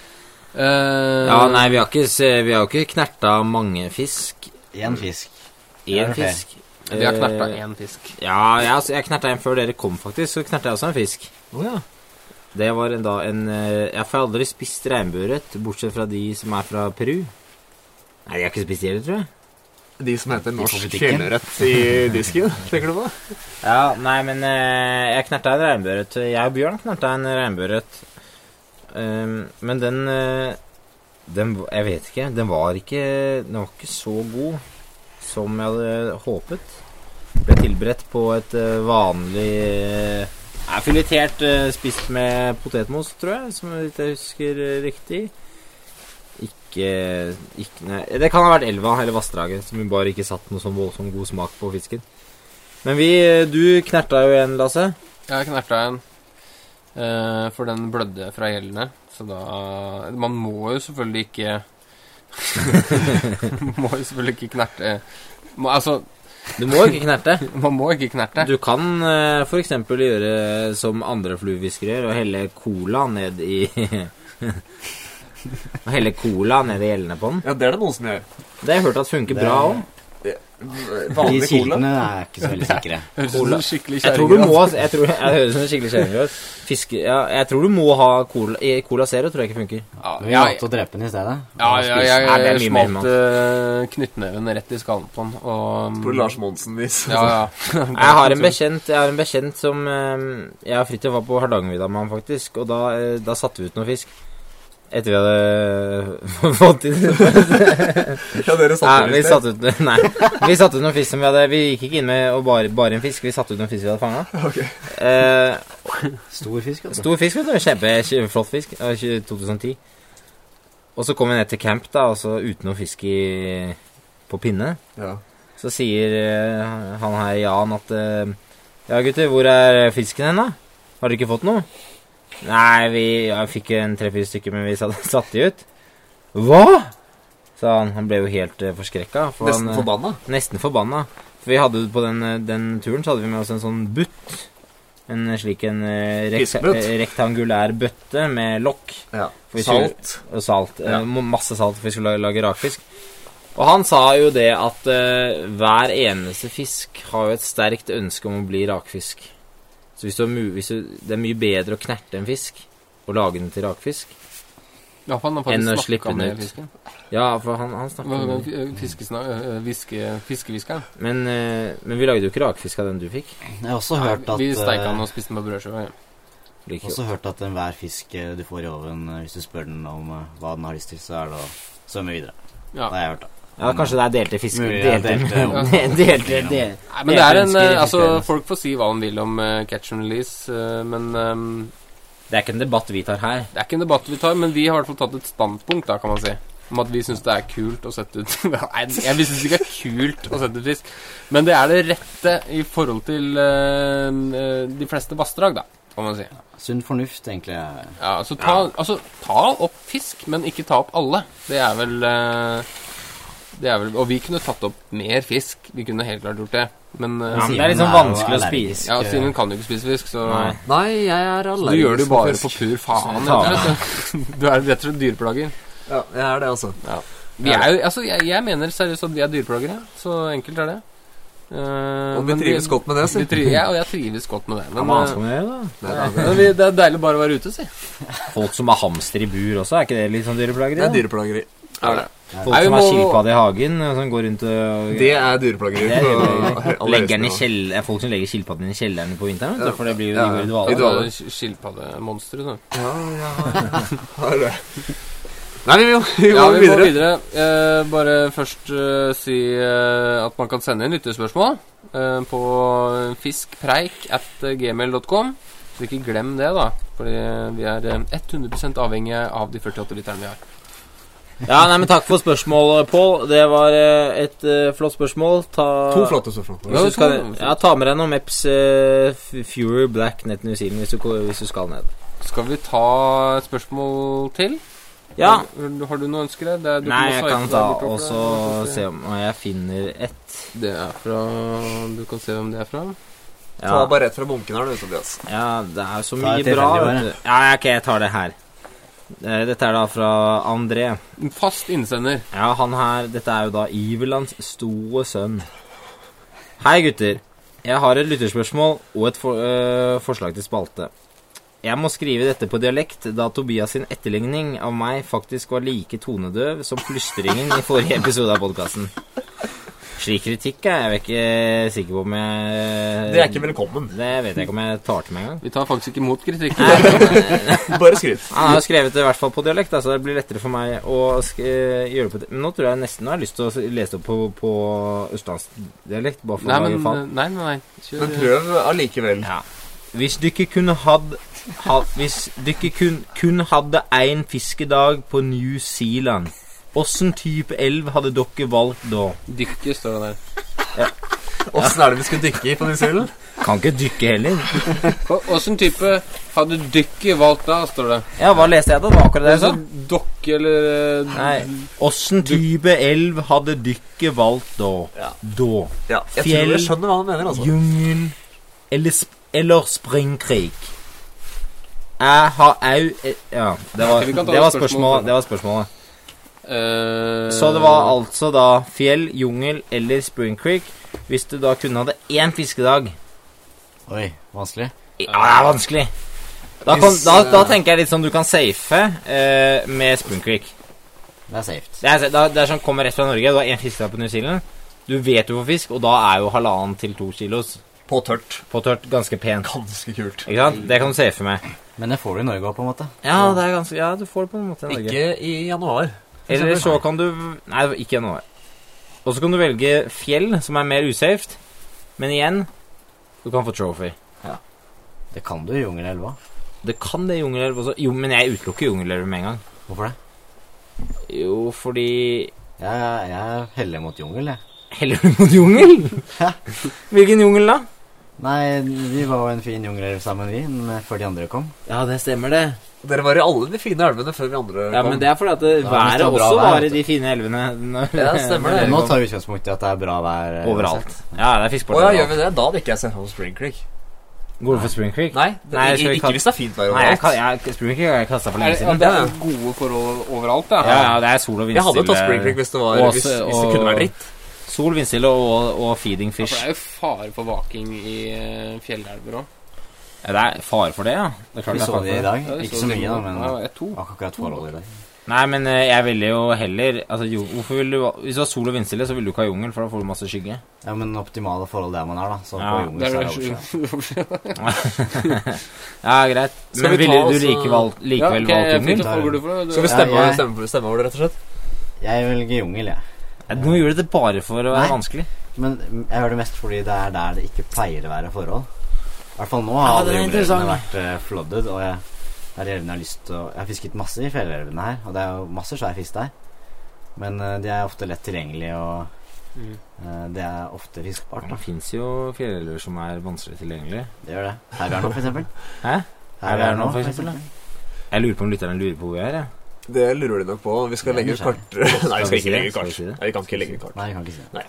Speaker 2: Ehm,
Speaker 1: Ja, nei, vi har ikke, se- vi har ikke knerta mange fisk.
Speaker 3: Én fisk. Ja,
Speaker 1: Én
Speaker 3: det er fair.
Speaker 1: fisk.
Speaker 2: Vi har knerta
Speaker 1: Eh,
Speaker 2: én fisk.
Speaker 1: Ja, jeg, altså, jeg knerta en før dere kom, faktisk. Så knerta jeg også en fisk.
Speaker 4: Å ja.
Speaker 1: Det var en, da en eh, Jeg får aldri spist regnbueørret, bortsett fra de som er fra Peru. Nei, de har ikke spist det heller, tror jeg.
Speaker 4: De som heter norsk
Speaker 3: butikken.
Speaker 4: fjellørret i disken, tenker du på?
Speaker 1: Ja, nei, men eh, jeg knerta en regnbueørret. Jeg og Bjørn knerta en regnbueørret. Ehm, men den, eh, den Jeg vet ikke. Den var ikke Den var ikke så god som jeg hadde håpet. Ble tilberedt på et eh, vanlig eh, er Filetert eh, spist med potetmos, tror jeg, som hvis jeg husker eh, riktig. Ikke, ikke nei. Det kan ha vært elva eller vassdraget, som vi bare ikke satt noe sånn voldsomt god smak på fisken. Men vi, eh, du knerta jo en, Lasse.
Speaker 2: Jeg knerta en. eh, for den blødde fra gjellene. Så da Man må jo selvfølgelig ikke [LAUGHS] Man Må jo selvfølgelig ikke knerte må, Altså,
Speaker 1: Du må ikke knerte.
Speaker 2: man må ikke knerte.
Speaker 1: [LAUGHS] Du kan eh, for eksempel gjøre som andre fluefiskere gjør, og helle cola ned i [LAUGHS] Og helle cola ned i gjellene på den.
Speaker 4: Ja, det er det noen som gjør.
Speaker 1: Det har jeg hørt at funker
Speaker 3: Det-
Speaker 1: bra òg.
Speaker 3: De
Speaker 4: Vanlig cola.
Speaker 3: kildene er ikke så veldig sikre.
Speaker 2: Høres ut som en skikkelig
Speaker 1: Jeg tror du
Speaker 2: kjerring.
Speaker 1: må Jeg, tror, jeg høres ut som en skikkelig kjerring. ut. Fiske ja, Jeg tror du må ha cola i Cola Zero, tror jeg ikke funker.
Speaker 2: Ja,
Speaker 3: Men vi
Speaker 2: ja,
Speaker 3: valgte å drepe den i stedet.
Speaker 2: ja, ja,
Speaker 1: Nei, det
Speaker 2: jeg,
Speaker 1: er mye mer
Speaker 2: smalt
Speaker 1: mat.
Speaker 2: eh, knyttneven rett i skallen på den, og
Speaker 4: På Lars Monsen-vis.
Speaker 2: Ja,
Speaker 1: [LAUGHS]
Speaker 2: ja.
Speaker 1: Jeg har en bekjent, jeg har en bekjent som eh, Jeg og Fridtjof var på Hardangervidda med han, faktisk, og da, eh, da satte vi ut noe fisk. Etter vi hadde [LAUGHS] fått inn
Speaker 4: [LAUGHS] Ja, dere satt
Speaker 1: Nei,
Speaker 4: der
Speaker 1: vi
Speaker 4: i sted.
Speaker 1: satte ut, [LAUGHS] nei, vi satte ut noen fisk som vi hadde Vi gikk ikke inn med og bare, bare en fisk, vi satte ut noen fisk vi hadde fanga.
Speaker 4: Ok.
Speaker 1: Eh,
Speaker 3: Stor fisk, altså.
Speaker 1: stor fisk, vet du. Kjempe, kjempeflott fisk. det var ikke 2010. Og så kom vi ned til camp, da, og så uten noe fisk i, på pinne.
Speaker 4: Ja.
Speaker 1: Så sier eh, han her Jan at eh, Ja, gutter, hvor er fisken hen, da? Har dere ikke fått noe? Nei, vi ja, vi fikk en tre-fire stykker, men vi satt, [LAUGHS] satte de ut. Hva?! sa han. Han ble jo helt uh, forskrekka. For
Speaker 4: Nesten
Speaker 1: han, eh,
Speaker 4: forbanna.
Speaker 1: nesten forbanna. For vi hadde på den, eh, den turen så hadde vi med oss en sånn butt. En slik en eh, rekt
Speaker 4: Fiskebutt.
Speaker 1: eh, rektangulær bøtte med lokk
Speaker 4: Ja.
Speaker 1: For vi
Speaker 4: Salt.
Speaker 1: og salt. eh,
Speaker 4: Ja.
Speaker 1: må- Masse salt, for vi skulle lage, lage rakfisk. Og han sa jo det at eh, hver eneste fisk har jo et sterkt ønske om å bli rakfisk. Så hvis, du har mu hvis du, det er mye bedre å knerte en fisk og lage den til rakfisk
Speaker 2: Ja, for han har
Speaker 1: Enn å
Speaker 2: faktisk
Speaker 1: slippe
Speaker 2: snakka
Speaker 1: den
Speaker 2: med
Speaker 1: ut.
Speaker 2: fisken.
Speaker 1: Ja, for han, han snakker om det.
Speaker 2: Fiskesna, øh, hviske, fiskehviskeren.
Speaker 1: Men, eh, men vi lagde jo ikke rakfisk av den du fikk.
Speaker 3: Jeg har også hørt at
Speaker 2: Vi steika
Speaker 3: eh,
Speaker 2: den og spiste den på brødskiva. ja.
Speaker 1: Like,
Speaker 3: Også hørt at enhver fisk eh, du får i oven, eh, hvis du spør den om eh, hva den har lyst til, så er det å svømme videre.
Speaker 2: Ja.
Speaker 3: Det har jeg hørt, da.
Speaker 1: ja, kanskje det er delte fisk...
Speaker 3: Mulig, ja,
Speaker 1: Delte,
Speaker 3: delte-
Speaker 1: [LAUGHS] delte, delte, delte.
Speaker 2: Nei, men det er en
Speaker 1: Ønsker
Speaker 2: eh, Altså,
Speaker 1: eksisterende.
Speaker 2: folk får si hva de vil om eh, catch and release, eh, men ehm,
Speaker 1: Det er ikke en debatt vi tar her.
Speaker 2: Det er ikke en debatt vi tar, men vi har i hvert fall tatt et standpunkt, da, kan man si. Om at vi syns det er kult å sette ut [LAUGHS] Nei, jeg syns ikke det er kult å sette ut fisk, men det er det rette i forhold til eh, eh, de fleste vassdrag, da, kan man si.
Speaker 3: Sunn fornuft, egentlig. eh, er-
Speaker 2: Ja, så ta, altså, ta opp fisk, men ikke ta opp alle. Det er vel eh, Det er vel Og vi kunne tatt opp mer fisk. Vi kunne helt klart gjort det, men eh,
Speaker 1: Ja, men
Speaker 3: Simen
Speaker 1: det er litt sånn
Speaker 3: er jo
Speaker 1: vanskelig å
Speaker 3: allergisk,
Speaker 1: spise.
Speaker 2: Ja,
Speaker 3: eh,
Speaker 2: Simen kan jo ikke spise fisk, så
Speaker 1: Nei.
Speaker 4: Nei, jeg er
Speaker 2: Du gjør det jo bare på
Speaker 4: fisk.
Speaker 2: pur faen.
Speaker 1: Ta
Speaker 2: vet du. [LAUGHS] Du er rett og slett dyreplager.
Speaker 4: Ja, jeg er det, altså.
Speaker 2: Vi er jo, altså, jeg, jeg mener seriøst at vi er dyreplagere. Så enkelt er det. Eh,
Speaker 4: Og vi
Speaker 2: men
Speaker 4: trives godt med det,
Speaker 2: Vi
Speaker 4: si.
Speaker 2: trives, ja, og jeg trives godt med det.
Speaker 1: Ja,
Speaker 2: Men,
Speaker 1: men hva
Speaker 2: eh,
Speaker 1: skal man gjøre, da?
Speaker 4: Nei, da,
Speaker 2: men vi, det er deilig bare å være ute, si.
Speaker 1: Folk som har hamster i bur også, er ikke det litt sånn dyreplageri?
Speaker 4: Det er
Speaker 1: da?
Speaker 4: dyreplageri.
Speaker 2: Ja, det.
Speaker 1: Folk
Speaker 2: Nei, vi
Speaker 1: som har
Speaker 2: må-
Speaker 1: skilpadde i hagen, og som går rundt og
Speaker 4: Det er dyreplageri. [LAUGHS]
Speaker 1: Det er [LAUGHS]
Speaker 4: på
Speaker 1: dyreplageri.
Speaker 4: alle
Speaker 1: legger den i
Speaker 4: høyeste nivå.
Speaker 1: kjell... det er folk som legger skilpaddene i kjelleren på vinteren, vet du,
Speaker 4: Ja.
Speaker 1: for det blir jo
Speaker 4: Ja,
Speaker 1: de går i
Speaker 4: I
Speaker 1: dvale.
Speaker 4: dvale.
Speaker 2: Det er sk- Skilpaddemonsteret, da.
Speaker 4: Ja, ja, har det. Nei, vi må, vi må
Speaker 2: Ja, vi
Speaker 4: videre.
Speaker 2: må videre. Eh, bare først eh, si eh, at man kan sende inn lyttespørsmål eh, på fiskpreik at gmail.com. Så ikke glem det, da. Fordi vi er eh, 100 avhengige av de 48 lytterne vi har.
Speaker 1: Ja, nei, men Takk for spørsmålet, Pål. Det var eh, et eh, flott spørsmål. Ta,
Speaker 4: To flotte spørsmål.
Speaker 1: Hvis
Speaker 2: Ja,
Speaker 1: du skal,
Speaker 2: to-
Speaker 1: ja, ta med deg noen Meps eh, F- Fury Black Net New Zealand hvis du, ko- hvis du skal ned.
Speaker 2: Skal vi ta et spørsmål til?
Speaker 1: Ja.
Speaker 2: Har, har du noe ønsker? Det er, du
Speaker 1: Nei,
Speaker 2: må
Speaker 1: jeg
Speaker 2: sveipe
Speaker 1: kan
Speaker 2: deg
Speaker 1: ta
Speaker 2: bortover
Speaker 1: og
Speaker 2: der,
Speaker 1: så
Speaker 2: bortover.
Speaker 1: se om jeg finner ett.
Speaker 2: Det er fra Du kan se hvem det er fra.
Speaker 4: Ta
Speaker 1: Ja,
Speaker 4: bare rett fra bunken her, du, Tobias.
Speaker 1: ja det er jo så
Speaker 3: Ta
Speaker 1: mye
Speaker 3: et tilfeldig
Speaker 1: bra.
Speaker 3: bare.
Speaker 1: Vet du. Ja, ja, ok, jeg tar det her. Eh, Dette er da fra André.
Speaker 2: Fast innsender.
Speaker 1: Ja, han her Dette er jo da Iverlands store sønn. Hei, gutter. Jeg har et lytterspørsmål og et for, øh, forslag til spalte. Jeg må skrive dette på dialekt, da Tobias sin etterligning av meg faktisk var like tonedøv som plystringen i forrige episode av podkasten. Slik kritikk er jeg ikke sikker på om jeg
Speaker 4: Det er ikke velkommen.
Speaker 1: Det vet jeg ikke om jeg tar til meg engang.
Speaker 2: Vi tar faktisk ikke imot kritikk.
Speaker 4: Bare skryt.
Speaker 1: Han har jo skrevet det i hvert fall på dialekt, da, så det blir lettere for meg å sk eh, gjøre det på di- Men nå tror jeg nesten jeg har lyst til å s- lese det opp på, på østlandsdialekt. Bare for
Speaker 2: Nei,
Speaker 1: å
Speaker 2: men
Speaker 1: lage
Speaker 2: Nei,
Speaker 1: fall.
Speaker 2: nei, nei. Kjør.
Speaker 4: Men prøv allikevel.
Speaker 1: Ja. Hvis du ikke kunne hatt ha, Hvis du ikke kun, kun hadde én fiskedag på New Zealand, åssen type elv hadde dere valgt da?
Speaker 2: Dykke, står det der.
Speaker 4: Åssen er det vi skal dykke i på New Zealand?
Speaker 1: Kan ikke dykke heller.
Speaker 2: Hva- Åssen type hadde dykket valgt da, står det.
Speaker 1: Ja, hva leste jeg da? Det var akkurat det jeg sa.
Speaker 2: Altså, dokke eller eh,
Speaker 1: Nei. Åssen type elv hadde dere valgt da?
Speaker 4: Ja.
Speaker 1: Da.
Speaker 4: Ja, jeg
Speaker 1: Fjell.
Speaker 4: tror jeg skjønner hva han mener, altså.
Speaker 1: Jungel eller, sp eller springkrig. Jeg har au... eh, Ja, det var,
Speaker 2: Ok, vi kan ta
Speaker 1: det var
Speaker 2: spørsmålet.
Speaker 1: spørsmålet. Det var spørsmålet.
Speaker 2: eh,
Speaker 1: Så det var altså da fjell, jungel eller Spring Creek. Hvis du da kunne hatt én fiskedag
Speaker 3: Eh, Oi, vanskelig.
Speaker 1: Ja, det er vanskelig. Da, kan,
Speaker 2: Hvis,
Speaker 1: da, da
Speaker 2: eh,
Speaker 1: tenker jeg litt sånn du kan safe eh, med Spring Creek.
Speaker 3: Det er safe.
Speaker 1: Det er, da- det er sånn kommer rett fra Norge. Du har én fiskedag på New Zealand. Du vet du får fisk, og da er jo halvannen til to kilos
Speaker 4: På tørt.
Speaker 1: på tørt ganske pent.
Speaker 4: Ganske kult.
Speaker 1: Ikke sant? Det kan du safe med.
Speaker 3: Men det får du i Norge òg, på en måte.
Speaker 1: Ja, det er ganske, ja, du får det på en måte i Norge.
Speaker 4: Ikke i januar.
Speaker 1: Eller så kan du Nei, det var ikke januar. Og så kan du velge fjell, som er mer usafe. Men igjen, du kan få trophy.
Speaker 3: Det kan du i jungelelva.
Speaker 1: Det kan det i jungelelv også. Jo, men jeg utelukker jungelelv med en gang.
Speaker 3: Hvorfor det?
Speaker 1: Jo, fordi
Speaker 3: Jeg, jeg heller mot jungel, jeg.
Speaker 1: Heller du mot jungel? [LAUGHS] Hvilken jungel, da?
Speaker 3: Nei, vi var jo en fin jungelelv sammen, vi, men før de andre kom.
Speaker 1: Ja, det stemmer, det.
Speaker 4: Dere var i alle de fine elvene før vi andre
Speaker 1: Ja,
Speaker 4: kom.
Speaker 1: Men det er fordi at det,
Speaker 3: Ja,
Speaker 1: været
Speaker 3: det er bra
Speaker 1: også
Speaker 3: vær,
Speaker 1: var i
Speaker 3: vet du.
Speaker 1: de fine elvene. Når,
Speaker 4: Ja, stemmer
Speaker 1: [LAUGHS]
Speaker 4: det.
Speaker 1: når
Speaker 3: Nå
Speaker 1: kom.
Speaker 3: tar vi utgangspunkt i at det er bra vær. eh,
Speaker 1: Overalt.
Speaker 3: uansett.
Speaker 1: Ja, det er fiskeport.
Speaker 4: Å ja, gjør
Speaker 1: overalt.
Speaker 4: vi det? Da hadde ikke jeg sett for meg Spring Creek.
Speaker 1: Går du for Spring Creek?
Speaker 4: Nei, det,
Speaker 1: Nei, så
Speaker 4: ikke,
Speaker 1: vi
Speaker 4: ikke
Speaker 1: kan-
Speaker 4: hvis det er fint vær
Speaker 1: Nei, jeg,
Speaker 4: overalt.
Speaker 1: kan- jeg, Spring Creek har jeg kasta for
Speaker 2: er,
Speaker 1: lenge
Speaker 2: det- ja,
Speaker 1: siden.
Speaker 2: det er gode forhold overalt, da.
Speaker 1: Ja, ja, det er sol og vindstille.
Speaker 4: Jeg hadde tatt Spring Creek hvis det, var,
Speaker 1: Og
Speaker 4: hvis,
Speaker 1: også-
Speaker 4: hvis det kunne
Speaker 1: og-
Speaker 4: vært dritt.
Speaker 1: Sol, vindstille og, og feeding
Speaker 2: Ja, for det
Speaker 1: fish.
Speaker 2: er jo fare for vaking i eh, fjellelver òg.
Speaker 1: Ja, det er fare for det, ja. Det er klart
Speaker 3: Vi
Speaker 1: det er
Speaker 3: så
Speaker 1: fare
Speaker 3: de i
Speaker 1: for det.
Speaker 3: dag. Ikke så mye, da, men
Speaker 2: Jeg to.
Speaker 3: akkurat forholdet i dag.
Speaker 1: Nei, men eh, jeg ville jo heller altså, jo, hvorfor vil du, Hvis du har sol og vindstille, så vil du ikke ha jungel, for da får du masse skygge.
Speaker 3: Ja, men optimale forhold der man er, da. Så
Speaker 1: Ja,
Speaker 3: på jungel
Speaker 2: Det
Speaker 3: så
Speaker 2: er
Speaker 3: er det overskyet.
Speaker 2: [LAUGHS] det
Speaker 1: Ja, greit.
Speaker 4: Skal
Speaker 1: Men
Speaker 4: vi ta
Speaker 1: ville du
Speaker 4: også-
Speaker 1: like valgt,
Speaker 2: Ja,
Speaker 1: likevel
Speaker 2: ok, jeg
Speaker 1: valgt
Speaker 2: fikk
Speaker 1: jungel?
Speaker 2: noe forhold for det.
Speaker 4: Skal vi
Speaker 3: Ja,
Speaker 4: stemme,
Speaker 3: jeg-
Speaker 4: stemme, stemme over det, rett og slett?
Speaker 3: Jeg velger jungel, jeg.
Speaker 1: Ja, Nå gjør du det bare for å være
Speaker 3: Nei.
Speaker 1: vanskelig.
Speaker 3: Men jeg gjør det mest fordi det er der det ikke pleier å være forhold. I hvert fall nå har
Speaker 1: Ja, det
Speaker 3: alle
Speaker 1: er
Speaker 3: jungelelvene
Speaker 1: interessant.
Speaker 3: vært eh, flooded, og jeg, det er de elvene jeg har lyst til å Jeg har fisket masse i fjellelvene her, og det er jo masse svær fisk der. Men eh, de er ofte lett tilgjengelige, og
Speaker 2: Mm.
Speaker 3: eh, det er ofte fiskbart.
Speaker 1: Det
Speaker 3: Da.
Speaker 1: fins jo fjellelver som er vanskelig tilgjengelig.
Speaker 3: Det gjør det. Her vi er nå, for eksempel.
Speaker 1: Hæ? Her vi er nå, for
Speaker 3: for
Speaker 1: eksempel, Jeg lurer på om lytterne lurer på hvor vi er. Jeg.
Speaker 4: Det lurer de nok på. Vi skal
Speaker 3: Ja,
Speaker 4: legge ut
Speaker 3: kanskje.
Speaker 4: kart. [LAUGHS] Nei, vi skal
Speaker 1: vi si
Speaker 4: ikke legge
Speaker 1: det?
Speaker 4: ut
Speaker 1: Skal vi
Speaker 4: kart.
Speaker 1: si det?
Speaker 4: Nei, vi kan ikke legge ut kart.
Speaker 3: Nei, vi kan ikke si det.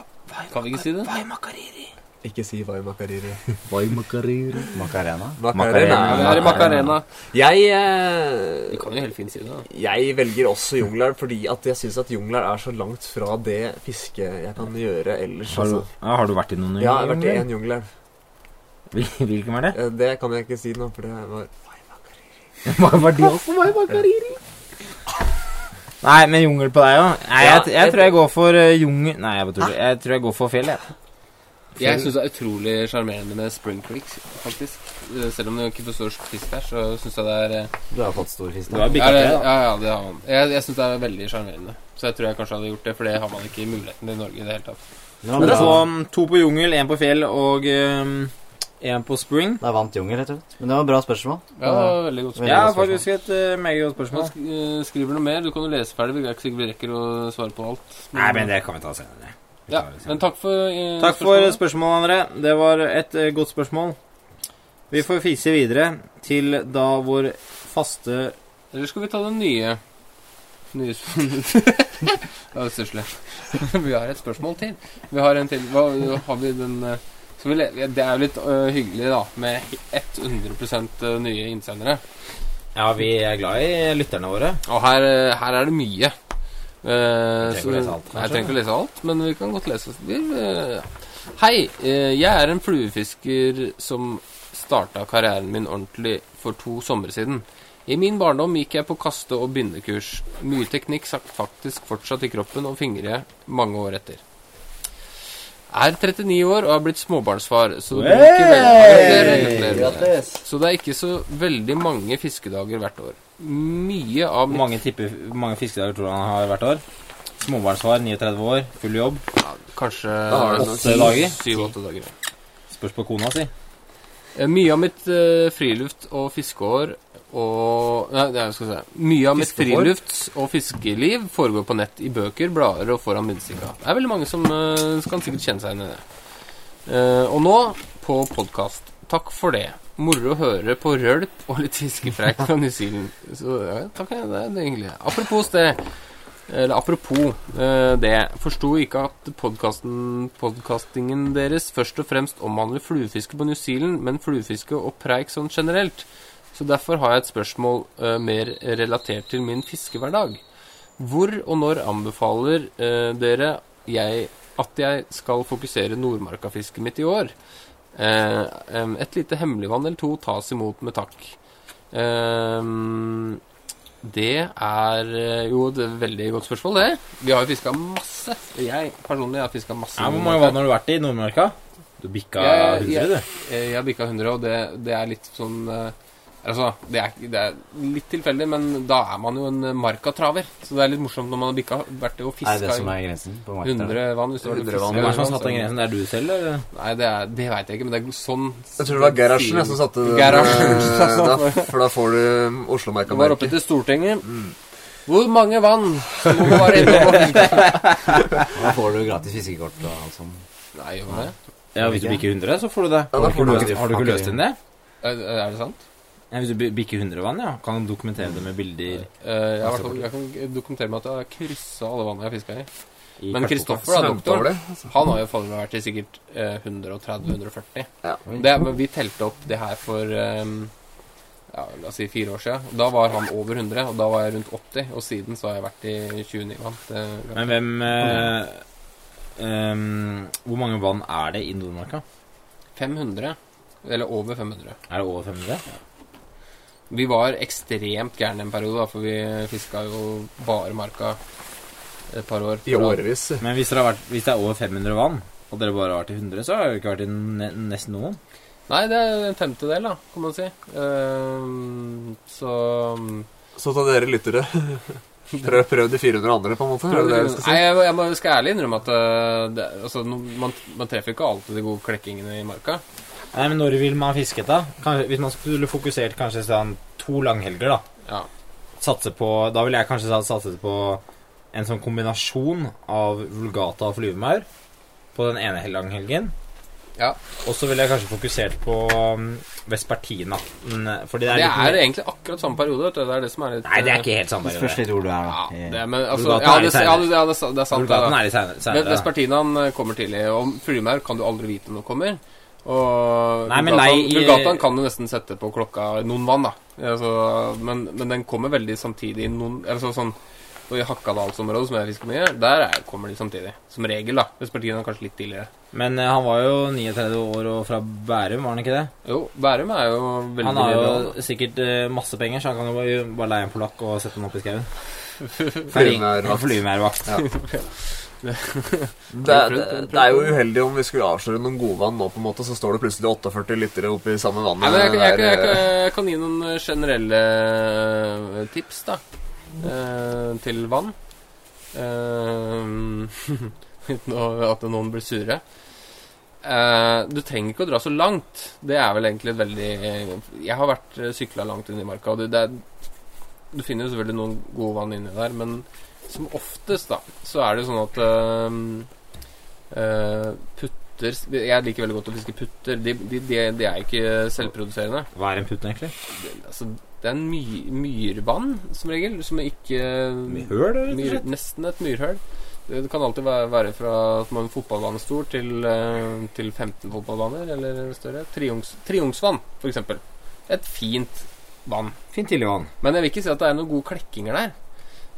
Speaker 2: Kan vi ikke si det?
Speaker 1: Vai makariri.
Speaker 4: Ikke si Vai Makariri.
Speaker 1: Vai makariri.
Speaker 3: Macarena.
Speaker 4: Makarena.
Speaker 2: Ja, det er i Macarena.
Speaker 4: Jeg
Speaker 2: Vi
Speaker 4: eh,
Speaker 2: kan jo helt fint si det. da.
Speaker 4: Jeg velger også jungler fordi at jeg syns at jungler er så langt fra det fisket jeg kan gjøre ellers.
Speaker 1: Har, du-
Speaker 4: Altså.
Speaker 1: ja, har du vært i noen
Speaker 4: Ja, jeg har vært i
Speaker 1: jungler?
Speaker 4: én jungler.
Speaker 1: Hvil- Hvilken var det?
Speaker 4: Eh, Det kan jeg ikke si nå, for det var
Speaker 1: Hva var de også? Nei, men jungel på deg òg? Nei,
Speaker 4: Ja,
Speaker 1: jeg, jeg
Speaker 4: jeg-
Speaker 1: tror jeg går for eh, jungel Nei, jeg bare tuller. Jeg tror jeg går for fjell, jeg.
Speaker 2: Jeg syns det er utrolig sjarmerende med spring creeks, faktisk. Eh, Selv om det ikke får stor fisk der, så syns jeg det er eh,
Speaker 3: Du har fått stor fisk.
Speaker 1: Du har
Speaker 3: da.
Speaker 1: bygget
Speaker 2: ja, det,
Speaker 1: tre, da.
Speaker 2: ja, ja, det har man. Jeg, jeg syns det er veldig sjarmerende. Så jeg tror jeg kanskje hadde gjort det, for det har man ikke muligheten til i Norge i det hele tatt.
Speaker 3: Det var
Speaker 1: Men
Speaker 3: bra.
Speaker 1: så um, to på jungel, én på fjell og én på spring.
Speaker 3: Da vant Jungel, rett og slett. Men det var et bra spørsmål.
Speaker 2: Ja, det var veldig godt
Speaker 3: Veldig
Speaker 1: Ja,
Speaker 3: godt spørsmål.
Speaker 1: faktisk et eh, meget godt
Speaker 2: spørsmål.
Speaker 1: spørsmål.
Speaker 2: Sk eh, skriver noe mer. Du kan jo lese ferdig. Vi er ikke sikkert vi rekker å svare på alt.
Speaker 1: Nei, men det kan vi ta senere. Vi
Speaker 2: ja,
Speaker 1: tar det senere.
Speaker 2: men takk for eh,
Speaker 1: Takk for
Speaker 2: spørsmålet.
Speaker 1: spørsmålet, André. Det var et eh, godt spørsmål. Vi får fise videre til da vår faste
Speaker 2: Eller skal vi ta den nye? Nye [LAUGHS] spørsmål Det var stusslig. [LAUGHS] Vi har et spørsmål til. Vi har en til. Hva, har vi den eh, skal vi le ja, Det er jo litt øh, hyggelig, da, med 100 eh, nye innsendere.
Speaker 1: Ja, vi er glad i lytterne våre.
Speaker 2: Og her, eh, her er det mye. Eh,
Speaker 1: trenger
Speaker 2: så
Speaker 1: ikke å lese alt,
Speaker 2: Nei,
Speaker 1: kanskje?
Speaker 2: jeg trenger ikke å lese alt, men vi kan godt lese oss til. eh, Hei, eh, jeg er en fluefisker som starta karrieren min ordentlig for to somre siden. I min barndom gikk jeg på kaste- og bindekurs. Mye teknikk satt faktisk fortsatt i kroppen og fingre mange år etter. Er 39 år og er blitt småbarnsfar, så det blir ikke
Speaker 1: Hey!
Speaker 2: vel... Gratulerer. Så det er ikke så veldig mange fiskedager hvert år. Mye av
Speaker 1: Hvor
Speaker 2: mitt
Speaker 1: mange, tipper, hvor mange fiskedager tror du han har hvert år? Småbarnsfar, 39 år, full jobb.
Speaker 2: Ja, kanskje
Speaker 4: har du
Speaker 1: åtte dager.
Speaker 2: Syv-åtte dager. ja.
Speaker 1: Spørs på kona si.
Speaker 2: Eh, Mye av mitt eh, friluft og fiskeår og Nei, det er- skal jeg si Mye av mitt
Speaker 1: Fiskehår?
Speaker 2: frilufts- og fiskeliv foregår på nett, i bøker, blader og foran bindestikka. Det er veldig mange som eh, kan sikkert kjenne seg igjen i det. Eh, og nå på podkast. Takk for det. Moro å høre på rølp og litt fiskepreik fra New Zealand. Så ja, takk, ja, det er det hyggelig. Apropos det. Eller apropos eh, det Forsto ikke at podcasten- podcastingen deres først og fremst omhandler fluefiske på New Zealand, men fluefiske og preik sånn generelt. Så derfor har jeg et spørsmål eh, mer relatert til min fiskehverdag. Hvor og når anbefaler eh, dere jeg at jeg skal fokusere nordmarkafisket mitt i år? Eh, em, et lite hemmeligvann eller to tas imot med takk. Ehm, det er eh, jo det er et veldig godt spørsmål, det. Vi har jo fiska masse. Jeg personlig har fiska masse.
Speaker 1: Ja, hvor mange vann har du vært i Nordmarka? Du bikka
Speaker 2: Jeg-
Speaker 1: 100,
Speaker 2: jeg-
Speaker 1: du.
Speaker 2: Eh, Jeg bikka 100, og det, det er litt sånn eh, Altså, det er, ikke- det er litt tilfeldig, men da er man jo en eh, markatraver. Så det er litt morsomt når man har bikka, vært og
Speaker 3: Er det det
Speaker 2: fiska
Speaker 3: som er grensen på markedet?
Speaker 2: 100 vann. Hvis du har
Speaker 4: 100 vann,
Speaker 1: Hvem er det som har
Speaker 2: fisker-
Speaker 1: satt den grensen? Det er du selv, eller?
Speaker 2: Nei, det, er- det veit jeg ikke, men det er sånn
Speaker 4: Jeg tror det var Gerhardsen jeg, som satte den,
Speaker 2: Gerhardsen [LAUGHS]
Speaker 4: eh, da, For da får du um,
Speaker 2: Det var oppe
Speaker 4: Oslo-merka-merket.
Speaker 2: til Stortinget. Hvor mange vann som må være inne?
Speaker 3: Da får du gratis fiskekort og alt sånt.
Speaker 2: Nei, gjør man det?
Speaker 1: Ja, Hvis du bikker 100, så får du det.
Speaker 4: Ja, da
Speaker 1: Har du ikke
Speaker 4: får du
Speaker 1: løst-
Speaker 3: det.
Speaker 1: har du ikke løst inn det?
Speaker 2: Er er det sant?
Speaker 1: Ja, hvis du bi- bikker 100 vann, ja. Kan du dokumentere det med bilder.
Speaker 2: Eh, Jeg, har i hvert fall- jeg kan dokumentere meg at jeg har kryssa alle vannene jeg har fiska i.
Speaker 1: I
Speaker 2: Men
Speaker 1: kartboka.
Speaker 2: Kristoffer, da,
Speaker 4: Svømte over
Speaker 2: doktoren,
Speaker 4: det.
Speaker 2: han har jo faen meg vært i sikkert eh, 130-140.
Speaker 4: Ja.
Speaker 2: Det, men vi telte opp det her for ehm, ja, la oss si fire år siden. Da var han over 100, og da var jeg rundt 80. Og siden så har jeg vært i 29 vann. Det-
Speaker 1: Men hvem eh, ehm, Hvor mange vann er det i Nordmarka?
Speaker 2: 500. Eller over 500.
Speaker 1: Er det over 500?
Speaker 2: Vi var ekstremt gærne en periode, da, for vi fiska jo bare marka et par år.
Speaker 4: I årevis.
Speaker 1: Men hvis, dere har vært, hvis det er over 500 vann, og dere bare har vært i 100, så har det jo ikke vært i ne nesten noen.
Speaker 2: Nei, det er en femtedel, da, kan man si. Ehm, så mm,
Speaker 4: Så ta dere lyttere. [LAUGHS] Prøv, prøv de 400 andre, på en måte. Er det det du
Speaker 2: Nei,
Speaker 4: skal si?
Speaker 2: jeg, må- jeg må- skal ærlig innrømme at eh, det, altså, no, man, man treffer ikke alltid de gode klekkingene i marka.
Speaker 1: Nei, men når vil man ha fisket, da? Kan- hvis man skulle fokusert kanskje sånn to langhelger, da.
Speaker 2: Ja.
Speaker 1: Satse på Da ville jeg kanskje sa- satset på en sånn kombinasjon av vulgata og flyvemaur på den ene langhelgen.
Speaker 2: Ja.
Speaker 1: Og så ville jeg kanskje fokusert på um, Vespertina. Men, eh, Fordi det er
Speaker 2: Det
Speaker 1: litt mer-
Speaker 2: er egentlig akkurat samme periode. Vet du. Det er det som er litt eh,
Speaker 1: Nei, det er ikke helt samme.
Speaker 3: Det spørs litt hvor du
Speaker 2: Ja,
Speaker 3: er, da.
Speaker 2: det,
Speaker 3: I-
Speaker 2: er- men, altså,
Speaker 1: Vulgaten
Speaker 2: ja,
Speaker 1: er
Speaker 2: det,
Speaker 1: litt
Speaker 2: ja, det, ja, det, er- det er sant. det, da.
Speaker 1: Vulgaten er litt senere.
Speaker 2: Men
Speaker 1: senere da.
Speaker 2: Vespertinaen eh, kommer tidlig, og Flymaur kan du aldri vite når det kommer. Og
Speaker 1: Nei, men
Speaker 2: Vulgatan,
Speaker 1: nei, eh, i-
Speaker 2: Vulgatan kan du nesten sette på klokka noen vann, da. Altså, men, men den kommer veldig samtidig i noen altså, sånn Og i Hakkadalsområdet, som jeg fisker mye, der er, kommer de samtidig. Som regel, da. Hvis partiene er kanskje litt tidligere.
Speaker 1: Men eh, han var jo 39 år og fra Bærum, var han ikke det?
Speaker 2: Jo, Bærum er jo veldig
Speaker 1: han har
Speaker 2: bra, da.
Speaker 1: jo sikkert eh, masse penger, så han kan jo bare, bare leie en polakk og sette den opp i
Speaker 2: [LAUGHS]
Speaker 1: skauen. [LAUGHS]
Speaker 4: Flyvemærvakt.
Speaker 1: Flyvemærvakt.
Speaker 4: Det, det, det er jo uheldig om vi skulle avsløre noen godvann nå, på en måte, så står det plutselig 48 liter oppi samme vann.
Speaker 2: Nei, men jeg, jeg, jeg, jeg, jeg, kan gi noen eh, generelle eh, tips, da. Eh, til vann. Eh, [LAUGHS] Uten å- at noen blir sure. Eh, du trenger ikke å dra så langt. Det er vel egentlig et veldig eh, Jeg har vært sykla langt inn i marka, og det, det er, du finner jo selvfølgelig noen gode vann inni der, men som oftest, da, så er det jo sånn at eh, eh, putter Jeg liker veldig godt å fiske putter. De, de, de, de er ikke selvproduserende.
Speaker 1: Hva er en putt, egentlig?
Speaker 2: Altså, det er en my, myrvann, som regel, som ikke
Speaker 1: Med høl, rett og
Speaker 2: myr,
Speaker 1: slett?
Speaker 2: Nesten et myrhull. Det det kan alltid være, være fra at man er en fotballbane stor til, eh, til 15 fotballbaner eller større. Triungs, triungsvann, f.eks. Et fint vann.
Speaker 1: Fint tilvann.
Speaker 2: Men jeg vil ikke si at det er noen gode klekkinger der.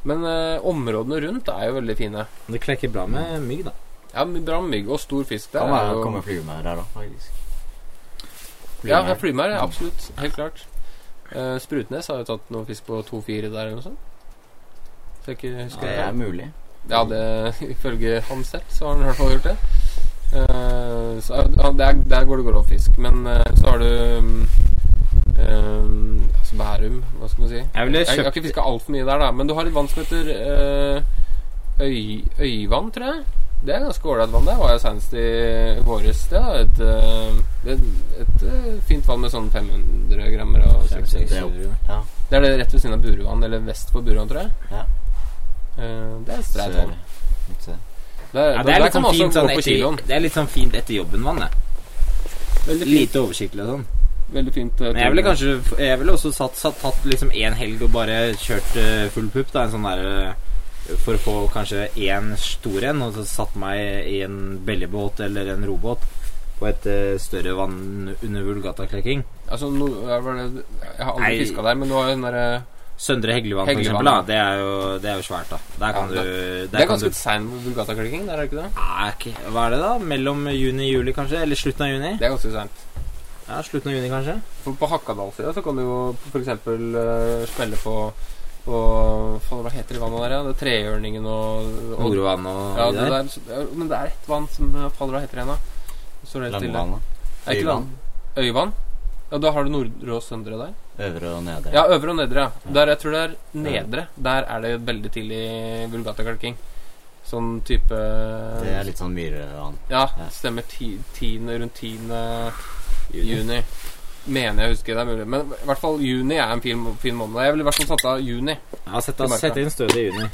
Speaker 2: Men eh, områdene rundt er jo veldig fine.
Speaker 1: Det klekker bra med mygg, da.
Speaker 2: Ja, men Bra med mygg og stor fisk der. er
Speaker 3: Kan være
Speaker 2: jo-
Speaker 3: å komme flyvemaur her òg, faktisk.
Speaker 2: Ja, ja, flymer, ja, absolutt. Helt klart. Eh, Sprutnes har jo tatt noe fisk på 2-4 der eller noe sånt. Så jeg ikke husker
Speaker 3: Det er mulig.
Speaker 2: Ja, det, [LAUGHS] ifølge ham selv så har han i hvert fall gjort det. Eh, så, er- ja, der, der går det grov fisk. Men eh, så har du mm, eh, Altså Bærum, hva skal man si?
Speaker 1: Jeg ville
Speaker 2: Jeg, jeg har
Speaker 1: kjøpt
Speaker 2: ikke fiska altfor mye der, da. Men du har et vann som heter eh, øy, Øyvann, tror jeg. Det er ganske ålreit vann. Der var jeg senest i våres. Det er et, eh, det er et eh, fint vann med sånn 500 grammer og 600
Speaker 3: det er jo- Ja.
Speaker 2: Det er det rett ved siden av Buruvann, eller vest for Buruvann, tror jeg.
Speaker 3: Ja.
Speaker 2: Eh, det er et streit vann.
Speaker 3: Sør. Litt eh, sør.
Speaker 2: Der,
Speaker 1: ja,
Speaker 2: der,
Speaker 1: det, er
Speaker 2: der
Speaker 1: litt
Speaker 2: kan
Speaker 1: sånn
Speaker 2: man også
Speaker 1: fint,
Speaker 2: gå
Speaker 1: sånn
Speaker 2: på kiloen.
Speaker 1: etter, det er litt sånn fint etter jobben, vann. det.
Speaker 2: Veldig fint.
Speaker 1: Lite oversiktlig og sånn.
Speaker 2: Veldig fint eh,
Speaker 1: Men jeg ville
Speaker 2: tur.
Speaker 1: kanskje Jeg ville også satt, satt, tatt liksom en helg og bare kjørt eh, full pupp. Da, en sånn der, eh, for å få kanskje én stor en, og så satt meg i en belliebåt eller en robåt på et eh, større vann under Vulgata-klekking.
Speaker 2: altså, no, jeg, var det- jeg har aldri
Speaker 1: Nei.
Speaker 2: fiska der, eh, men du har jo den derre
Speaker 1: Søndre Heglevann, for
Speaker 2: Heglevann,
Speaker 1: eksempel. Da, det, er jo, det er jo svært, da. Der kan
Speaker 2: Ja, det-
Speaker 1: du
Speaker 2: Det
Speaker 1: Der
Speaker 2: er
Speaker 1: kan du
Speaker 2: ganske sein Vulgata-klikking, der er det ikke det?
Speaker 1: Nei, ikke- Hva er det, da? Mellom juni-juli, kanskje? Eller slutten av juni?
Speaker 2: Det er ganske seint.
Speaker 1: Ja, slutten av juni, kanskje.
Speaker 2: For på Hakkadalsida så kan du jo f.eks. Uh, smelle på på faen, Hva heter det vannet der, ja? Det er Trehjørningen og, og
Speaker 1: Nordvann og
Speaker 2: ja,
Speaker 1: de
Speaker 2: det
Speaker 1: der.
Speaker 2: der. så- ja, Men det er ett vann som eh, faller Hva heter det igjen, da? Så det er helt stille.
Speaker 3: Langvannet.
Speaker 2: Er ikke
Speaker 3: Øyvann.
Speaker 2: det Øyvann? Ja, da har du Nordre og Søndre der.
Speaker 3: Øvre og nedre.
Speaker 2: Ja, øvre og nedre. ja. Der jeg tror det er nedre. Der er det veldig tidlig vulgatakalking. Sånn type
Speaker 3: Det er litt sånn myrevann.
Speaker 2: Ja,
Speaker 3: ja.
Speaker 2: stemmer. Ti, tiende, rundt 10. juni. Mener jeg husker det er mulig. Men i hvert fall juni er en fin, må- fin måned. Jeg ville i hvert fall satt av juni.
Speaker 1: Ja, sett,
Speaker 2: I marka.
Speaker 1: sett inn støtet i juni.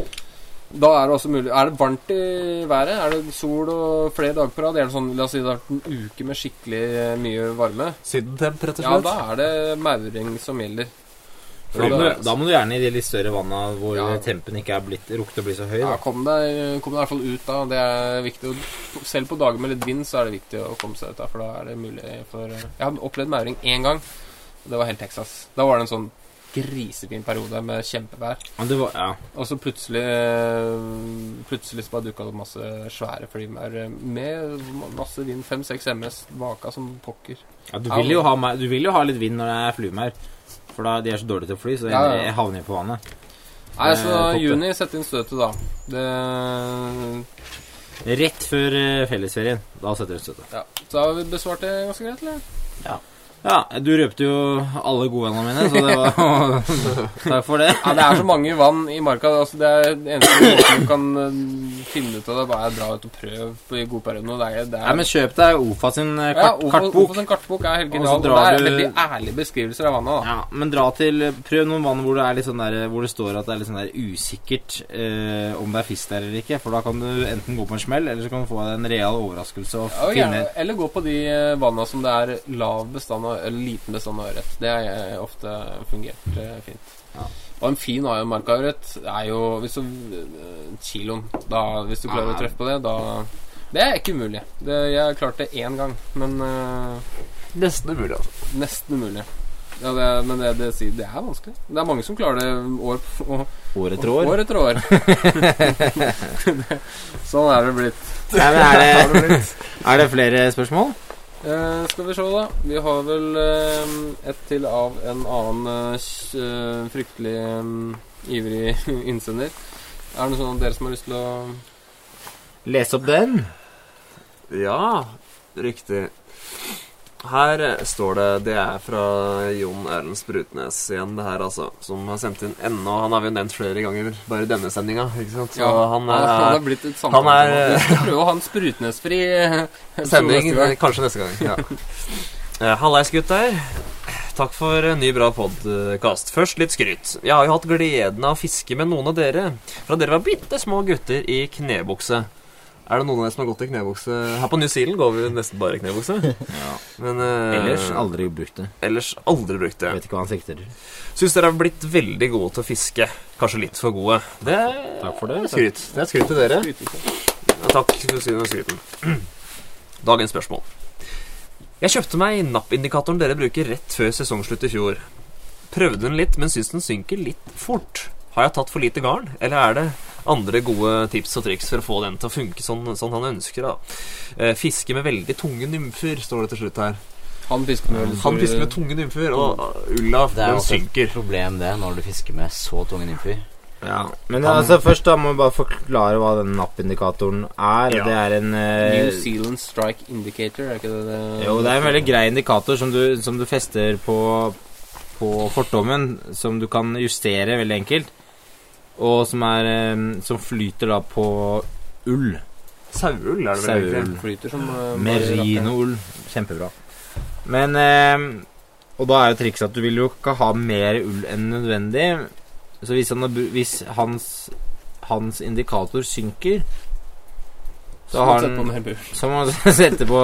Speaker 2: Da er det også mulig Er det varmt i været? Er det sol og flere dager på rad? Er det sånn, La oss si det har vært en uke med skikkelig eh, mye varme.
Speaker 4: Sydentemp, rett og
Speaker 2: Ja,
Speaker 4: slett.
Speaker 2: da er det mauring som gjelder.
Speaker 1: For Da
Speaker 2: Og
Speaker 1: må,
Speaker 2: da-
Speaker 1: du, da må du gjerne i de litt større vanna hvor
Speaker 2: Ja.
Speaker 1: tempen ikke er blitt, rukket å bli så høy.
Speaker 2: Ja,
Speaker 1: Da.
Speaker 2: kom deg, kom deg i hvert fall ut, da. Det er viktig. Og selv på dager med litt vind så er det viktig å komme seg ut, da, for da er det mulig for Jeg har opplevd mauring én gang. og Det var helt Texas. Da var det en sånn grisefin periode med kjempevær.
Speaker 1: Men det var, ja.
Speaker 2: Og så plutselig øh, Plutselig så bare dukka det opp masse svære flymaur med masse vind. 5-6 MS vaka som pokker.
Speaker 1: Ja, du, vil jo ha, mer- du vil jo ha litt vind når det er flymaur. For da, de er så dårlige til å fly, så de
Speaker 2: Ja, ja.
Speaker 1: ender- havner på vannet.
Speaker 2: Nei, så
Speaker 1: Eh, topp det.
Speaker 2: juni, sett inn støtet, da. Det
Speaker 1: Rett før eh, fellesferien. Da setter du støtet.
Speaker 2: Ja. Så har vi besvart det ganske greit, eller?
Speaker 1: Ja, du røpte jo alle godvennene mine, så det var
Speaker 2: [LAUGHS]
Speaker 1: Takk for det.
Speaker 2: Ja, det er så mange vann i marka. Altså, det er den eneste måten du kan eh, finne ut av det, er bare å dra ut og prøve på i godperioden. og Det er, det er,
Speaker 1: Nei, men kjøp deg Ofa sin eh,
Speaker 2: ja,
Speaker 1: kart,
Speaker 2: hvorfor-
Speaker 1: kartbok.
Speaker 2: hvorfor sånn kartbok er
Speaker 1: Og så
Speaker 2: helt genial. Og det
Speaker 1: drar
Speaker 2: er
Speaker 1: du-
Speaker 2: veldig ærlige beskrivelser av vannet. da.
Speaker 1: Ja, men dra til Prøv noen vann hvor det, er litt sånn der, hvor det står at det er litt sånn der usikkert eh, om det er fisk der eller ikke. For da kan du enten gå på en smell, eller så kan du få deg en real overraskelse og
Speaker 2: Ja, og
Speaker 1: finne
Speaker 2: gjerne- eller gå på de eh, vanna som det er lav bestand av, eller liten bestand av ørret. Det har eh, ofte fungert eh, fint.
Speaker 1: Ja.
Speaker 2: Og en fin har jo markaørret. Er jo hvis du, eh, kiloen. Da, hvis du klarer
Speaker 1: Ja.
Speaker 2: å treffe på det, da Det er ikke umulig. Det, jeg klarte det én gang, men eh,
Speaker 4: Nesten umulig. altså.
Speaker 2: Nesten umulig. Ja, det, er- men det, det, sier- det er vanskelig. Det er mange som klarer det år, på-
Speaker 1: År etter år.
Speaker 2: År
Speaker 1: [LAUGHS]
Speaker 2: [LAUGHS] etter år. sånn er det blitt.
Speaker 1: Nei, men
Speaker 4: Eh,
Speaker 1: er,
Speaker 2: [LAUGHS]
Speaker 1: det, er det flere spørsmål?
Speaker 2: Eh, skal vi se, da. Vi har vel eh, et til av en annen eh, kj- eh, fryktelig eh, ivrig [LAUGHS] innsender. Er det noe sånn at dere som har lyst til å
Speaker 1: Les opp den.
Speaker 4: [LAUGHS] Ja, riktig. Her eh, står det Det er fra Jon Erlend Sprutnes igjen, det her, altså. Som har sendt inn ennå. Han har vi jo nevnt flere ganger bare i denne sendinga, ikke sant? Så
Speaker 2: [LAUGHS]
Speaker 4: han
Speaker 2: han,
Speaker 4: er
Speaker 2: har blitt et
Speaker 4: han er-
Speaker 2: [LAUGHS] samtalemann. Vi skal prøve å ha en sprutnesfri eh, episode
Speaker 4: [LAUGHS] Sending
Speaker 2: neste gang.
Speaker 4: kanskje neste gang.
Speaker 1: [LAUGHS]
Speaker 4: Ja. Eh, Hallais, gutter. Takk for en ny, bra podkast. Først litt skryt. Jeg har jo hatt gleden av å fiske med noen av dere fra dere var bitte små gutter i knebukse. Er det noen av dere som har gått i knebukse? Her på New Zealand går vi jo nesten bare i
Speaker 1: [LAUGHS]
Speaker 4: knebukse. Men eh,
Speaker 1: Ellers aldri brukt det.
Speaker 4: ellers aldri brukt det.
Speaker 1: Vet ikke hva han sikter til.
Speaker 4: Syns dere har blitt veldig gode til å fiske. Kanskje litt for gode. Det er
Speaker 1: Takk for det.
Speaker 4: er skryt. Det er skryt til dere. Ja, takk for skryten. [CLEARS THROAT] Dagens spørsmål. Jeg kjøpte meg nappindikatoren dere bruker rett før sesongslutt i fjor. Prøvde den litt, men syns den synker litt fort. Har jeg tatt for lite garn, eller er det andre gode tips og triks for å få den til å funke sånn, sånn han ønsker? da? Eh, Fiske med veldig tunge nymfer, står det til slutt her.
Speaker 2: Han fisker med veldig
Speaker 4: Han
Speaker 2: store-
Speaker 4: fisker med tunge nymfer, og uh, ulla
Speaker 3: Det er
Speaker 4: den
Speaker 3: også et
Speaker 4: synker.
Speaker 3: problem, det, når du fisker med så tunge nymfer.
Speaker 1: Ja. Men altså, først da må vi bare forklare hva den nappindikatoren er.
Speaker 4: Ja.
Speaker 1: Det er en eh,
Speaker 2: New Zealand Strike Indicator, er ikke det det
Speaker 1: Jo, det er en veldig grei indikator som du, som du fester på, på fortommen, som du kan justere veldig enkelt, og som, er, eh, som flyter da på ull.
Speaker 4: Saueull er det vel
Speaker 1: Saueull.
Speaker 4: egentlig.
Speaker 2: Flyter som eh,
Speaker 1: Merinoull. Kjempebra. Men eh, Og da er jo trikset at du vil jo ikke ha mer ull enn nødvendig. Så hvis, han, har bu- hvis hans, hans indikator synker,
Speaker 2: Så har han sett på mer bur.
Speaker 1: så må du [LAUGHS] sette på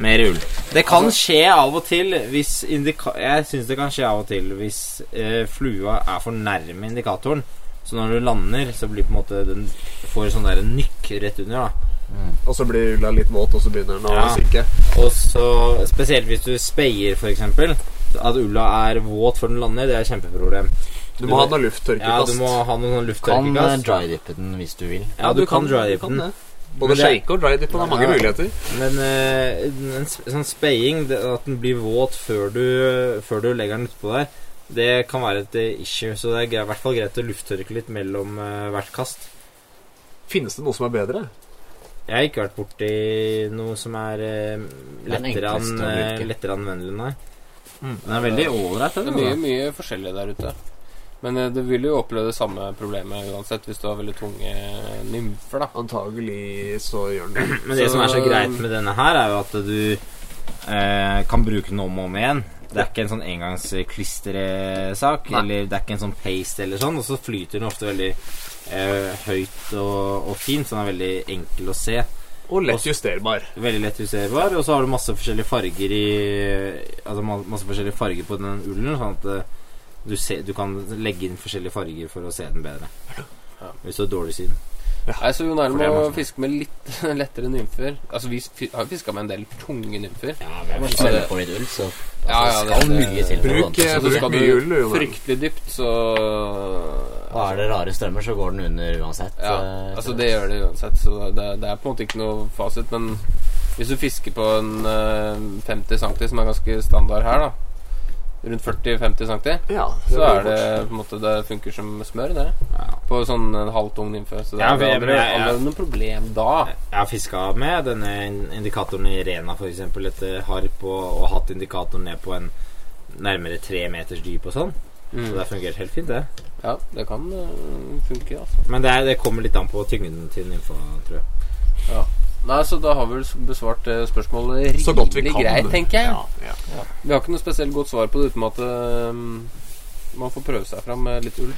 Speaker 1: mer ull. Det kan skje av og til hvis indika Jeg syns det kan skje av og til hvis eh, flua er for nærme indikatoren. Så når du lander, så blir på en måte den får sånn der nykk rett under. da
Speaker 2: Mm.
Speaker 4: Og så blir ulla litt våt, og så begynner den å
Speaker 1: Ja.
Speaker 4: synke.
Speaker 1: Og så Spesielt hvis du speier, for eksempel At ulla er våt før den lander, det er et kjempeproblem.
Speaker 4: Du må ha noe lufttørkekast.
Speaker 1: Ja, du må ha noen
Speaker 3: Kan eh,
Speaker 1: lufttørkekast.
Speaker 3: drydippe den hvis du vil.
Speaker 1: Ja, du kan eh, drydippe den.
Speaker 4: Både
Speaker 1: Men det-
Speaker 4: shake og dry dip, og det er mange
Speaker 1: Ja.
Speaker 4: muligheter.
Speaker 1: Men eh, en s- sånn speiing, det, at den blir våt før du, før du legger den utpå der, det kan være et eh, issue. Så det er grei- i hvert fall greit å lufttørke litt mellom eh, hvert kast.
Speaker 4: Finnes det noe som er bedre?
Speaker 1: Jeg har ikke vært borti noe som er eh,
Speaker 3: er den
Speaker 1: lettere, an,
Speaker 3: enkleste å
Speaker 1: eh,
Speaker 3: bruke.
Speaker 1: lettere anvendelig, nei.
Speaker 4: Mm.
Speaker 1: Den er veldig ålreit,
Speaker 2: Det er
Speaker 1: den.
Speaker 2: mye,
Speaker 1: da.
Speaker 2: mye forskjellig der ute. Men eh, du vil jo oppleve det samme problemet uansett hvis du har veldig tunge eh, nymfer, da.
Speaker 4: Antagelig så gjør den det.
Speaker 1: Men det
Speaker 2: Så-
Speaker 1: som er så greit med denne her, er jo at du eh, kan bruke den om og om igjen. Det er ikke en sånn engangsklistresak,
Speaker 4: Nei.
Speaker 1: eller det er ikke en sånn paste eller sånn, og så flyter den ofte veldig eh, høyt og, og fint, så den er veldig enkel å se.
Speaker 4: Og lett
Speaker 1: Også-
Speaker 4: justerbar.
Speaker 1: Veldig lett justerbar, og så har du masse forskjellige farger i Altså ma- masse forskjellige farger på den ullen, sånn at eh, du, ser, du kan legge inn forskjellige farger for å se den bedre.
Speaker 2: Ja.
Speaker 1: Hvis du har dårlig syn.
Speaker 2: Nei, så Jon Erlend
Speaker 1: For det er
Speaker 2: må
Speaker 1: morsomt.
Speaker 2: fiske med litt [LAUGHS] lettere nymfer. Altså, vi fi- har fiska med en del tunge nymfer.
Speaker 3: Ja, men
Speaker 2: Men
Speaker 3: hvis
Speaker 2: så-
Speaker 3: du selger på litt ull, så
Speaker 2: Ja, ja,
Speaker 3: Altså, det skal
Speaker 2: det-
Speaker 3: mye til. altså. for å
Speaker 4: Bruk,
Speaker 3: lande.
Speaker 4: eh,
Speaker 2: Så
Speaker 4: bruk
Speaker 2: skal du
Speaker 4: mye ull, du, Jonas.
Speaker 2: Fryktelig dypt, så
Speaker 3: Og er det rare strømmer, så går den under uansett.
Speaker 2: eh, Ja,
Speaker 3: eh,
Speaker 2: altså
Speaker 3: så-
Speaker 2: det gjør det uansett, så det, det er på en måte ikke noe fasit. Men hvis du fisker på en eh, 50 cm, som er ganske standard her, da rundt 40-50 cm,
Speaker 4: Ja,
Speaker 2: så
Speaker 4: blir
Speaker 2: er det på en måte Det funker som smør, det.
Speaker 1: Ja.
Speaker 2: På sånn en halvtung nymfe. Så det
Speaker 1: Ja,
Speaker 2: er vel
Speaker 1: men-
Speaker 2: aldri,
Speaker 1: men- ja.
Speaker 2: aldri noe problem da.
Speaker 1: Jeg har fiska med denne in- indikatoren i Rena, f.eks. etter harp, og, og hatt indikatoren ned på en nærmere tre meters dyp og sånn. Så det har fungert helt fint, det.
Speaker 2: Ja, det kan eh, funke, altså.
Speaker 1: Men det, er, det kommer litt an på tyngden til nymfa, tror jeg.
Speaker 2: Nei, så da har vi vel s- besvart eh, spørsmålet rimelig
Speaker 4: Så godt vi kan.
Speaker 2: greit, tenker jeg.
Speaker 4: Ja, ja.
Speaker 2: Vi har ikke noe spesielt godt svar på det uten at eh, man får prøve seg fram med litt ull.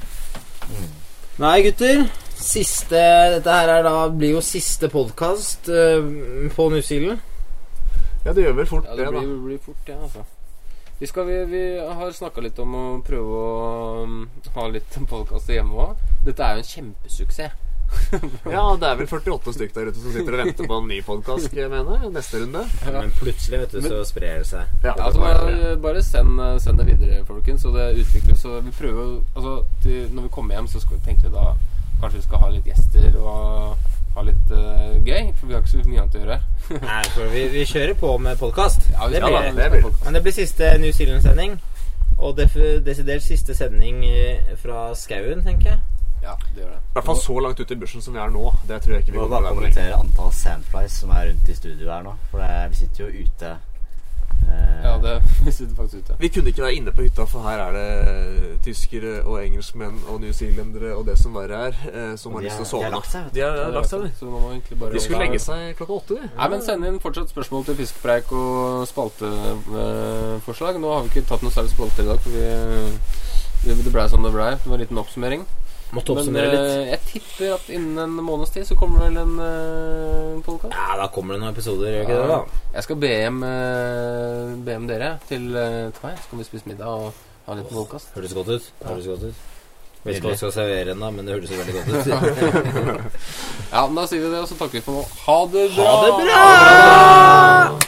Speaker 1: Nei, gutter. Siste Dette her er da, blir jo siste podkast på New Zealand.
Speaker 4: ja, det gjør vel fort
Speaker 2: Ja,
Speaker 4: det,
Speaker 2: det
Speaker 4: da.
Speaker 2: blir, blir fort, ja, altså. Vi, skal, vi, vi har snakka litt mm, [LAUGHS] om å prøve å um, ha litt podkaster hjemme òg. Dette er jo en kjempesuksess.
Speaker 4: Ja, det er vel 48 stykk der ute som sitter og venter på en ny podkast, mener jeg. Neste runde.
Speaker 2: Ja.
Speaker 1: Men plutselig, vet du, så sprer det [LAUGHS] seg.
Speaker 4: Ja,
Speaker 2: Ja, altså bare, bare send, eh, send det videre, folkens, og det utvikles. Og vi prøver å- altså, til, Når vi kommer hjem, så skal, tenkte vi da kanskje vi skal ha litt gjester og ha litt eh, gøy. For vi har ikke så mye annet å gjøre.
Speaker 1: Nei, for vi, vi kjører på med podkast.
Speaker 2: Ja, vi
Speaker 1: det blir
Speaker 2: skal ha-
Speaker 1: det.
Speaker 4: det blir det.
Speaker 1: Men det blir siste New Zealand-sending. Og def desidert siste sending eh, fra skauen, tenker jeg.
Speaker 2: Ja, det gjør det.
Speaker 4: I hvert fall så langt ute i bushen som vi er nå. Det tror jeg ikke
Speaker 3: Vi
Speaker 4: vi
Speaker 3: må
Speaker 4: kommer
Speaker 3: bare
Speaker 4: til å være
Speaker 3: kommentere antall sandflies som er rundt i studio her nå. For det, er- vi sitter jo ute. Eh,
Speaker 2: Ja, det [LAUGHS] vi sitter faktisk ute.
Speaker 4: Vi kunne ikke være inne på hytta, for her er det eh, tyskere og engelskmenn og newzealendere og det som verre er, eh, som
Speaker 3: og
Speaker 4: har
Speaker 3: de
Speaker 4: lyst
Speaker 3: har-
Speaker 4: til å
Speaker 3: de
Speaker 4: sove.
Speaker 3: har lagt seg, vet du.
Speaker 4: De har lagt seg,
Speaker 2: Så man må egentlig bare
Speaker 4: de. De skulle legge seg klokka åtte, de.
Speaker 2: Nei, men Send inn fortsatt spørsmål til fiskepreik og spalteforslag. Nå har vi ikke tatt noe særlig spalte i dag, for vi, det- det blei som det blei. Det var en liten oppsummering.
Speaker 1: Måtte
Speaker 2: Men
Speaker 1: oppsummere litt.
Speaker 2: eh, jeg tipper at innen en måneds tid så kommer det vel en uh, podkast.
Speaker 1: Ja, da kommer det noen episoder, gjør ikke
Speaker 2: Ja.
Speaker 1: det? da?
Speaker 2: Jeg skal be hjem, eh, be hjem dere til, eh, til meg, så kan vi spise middag og ha en liten podkast.
Speaker 1: Høres godt ut. Høres godt ut. Vet ikke hva
Speaker 3: Nydelig.
Speaker 1: jeg skal servere ennå, men det høres jo veldig godt ut.
Speaker 2: Ja, men da sier vi det, og så takker vi for nå. Ha det bra!
Speaker 1: Ha det bra!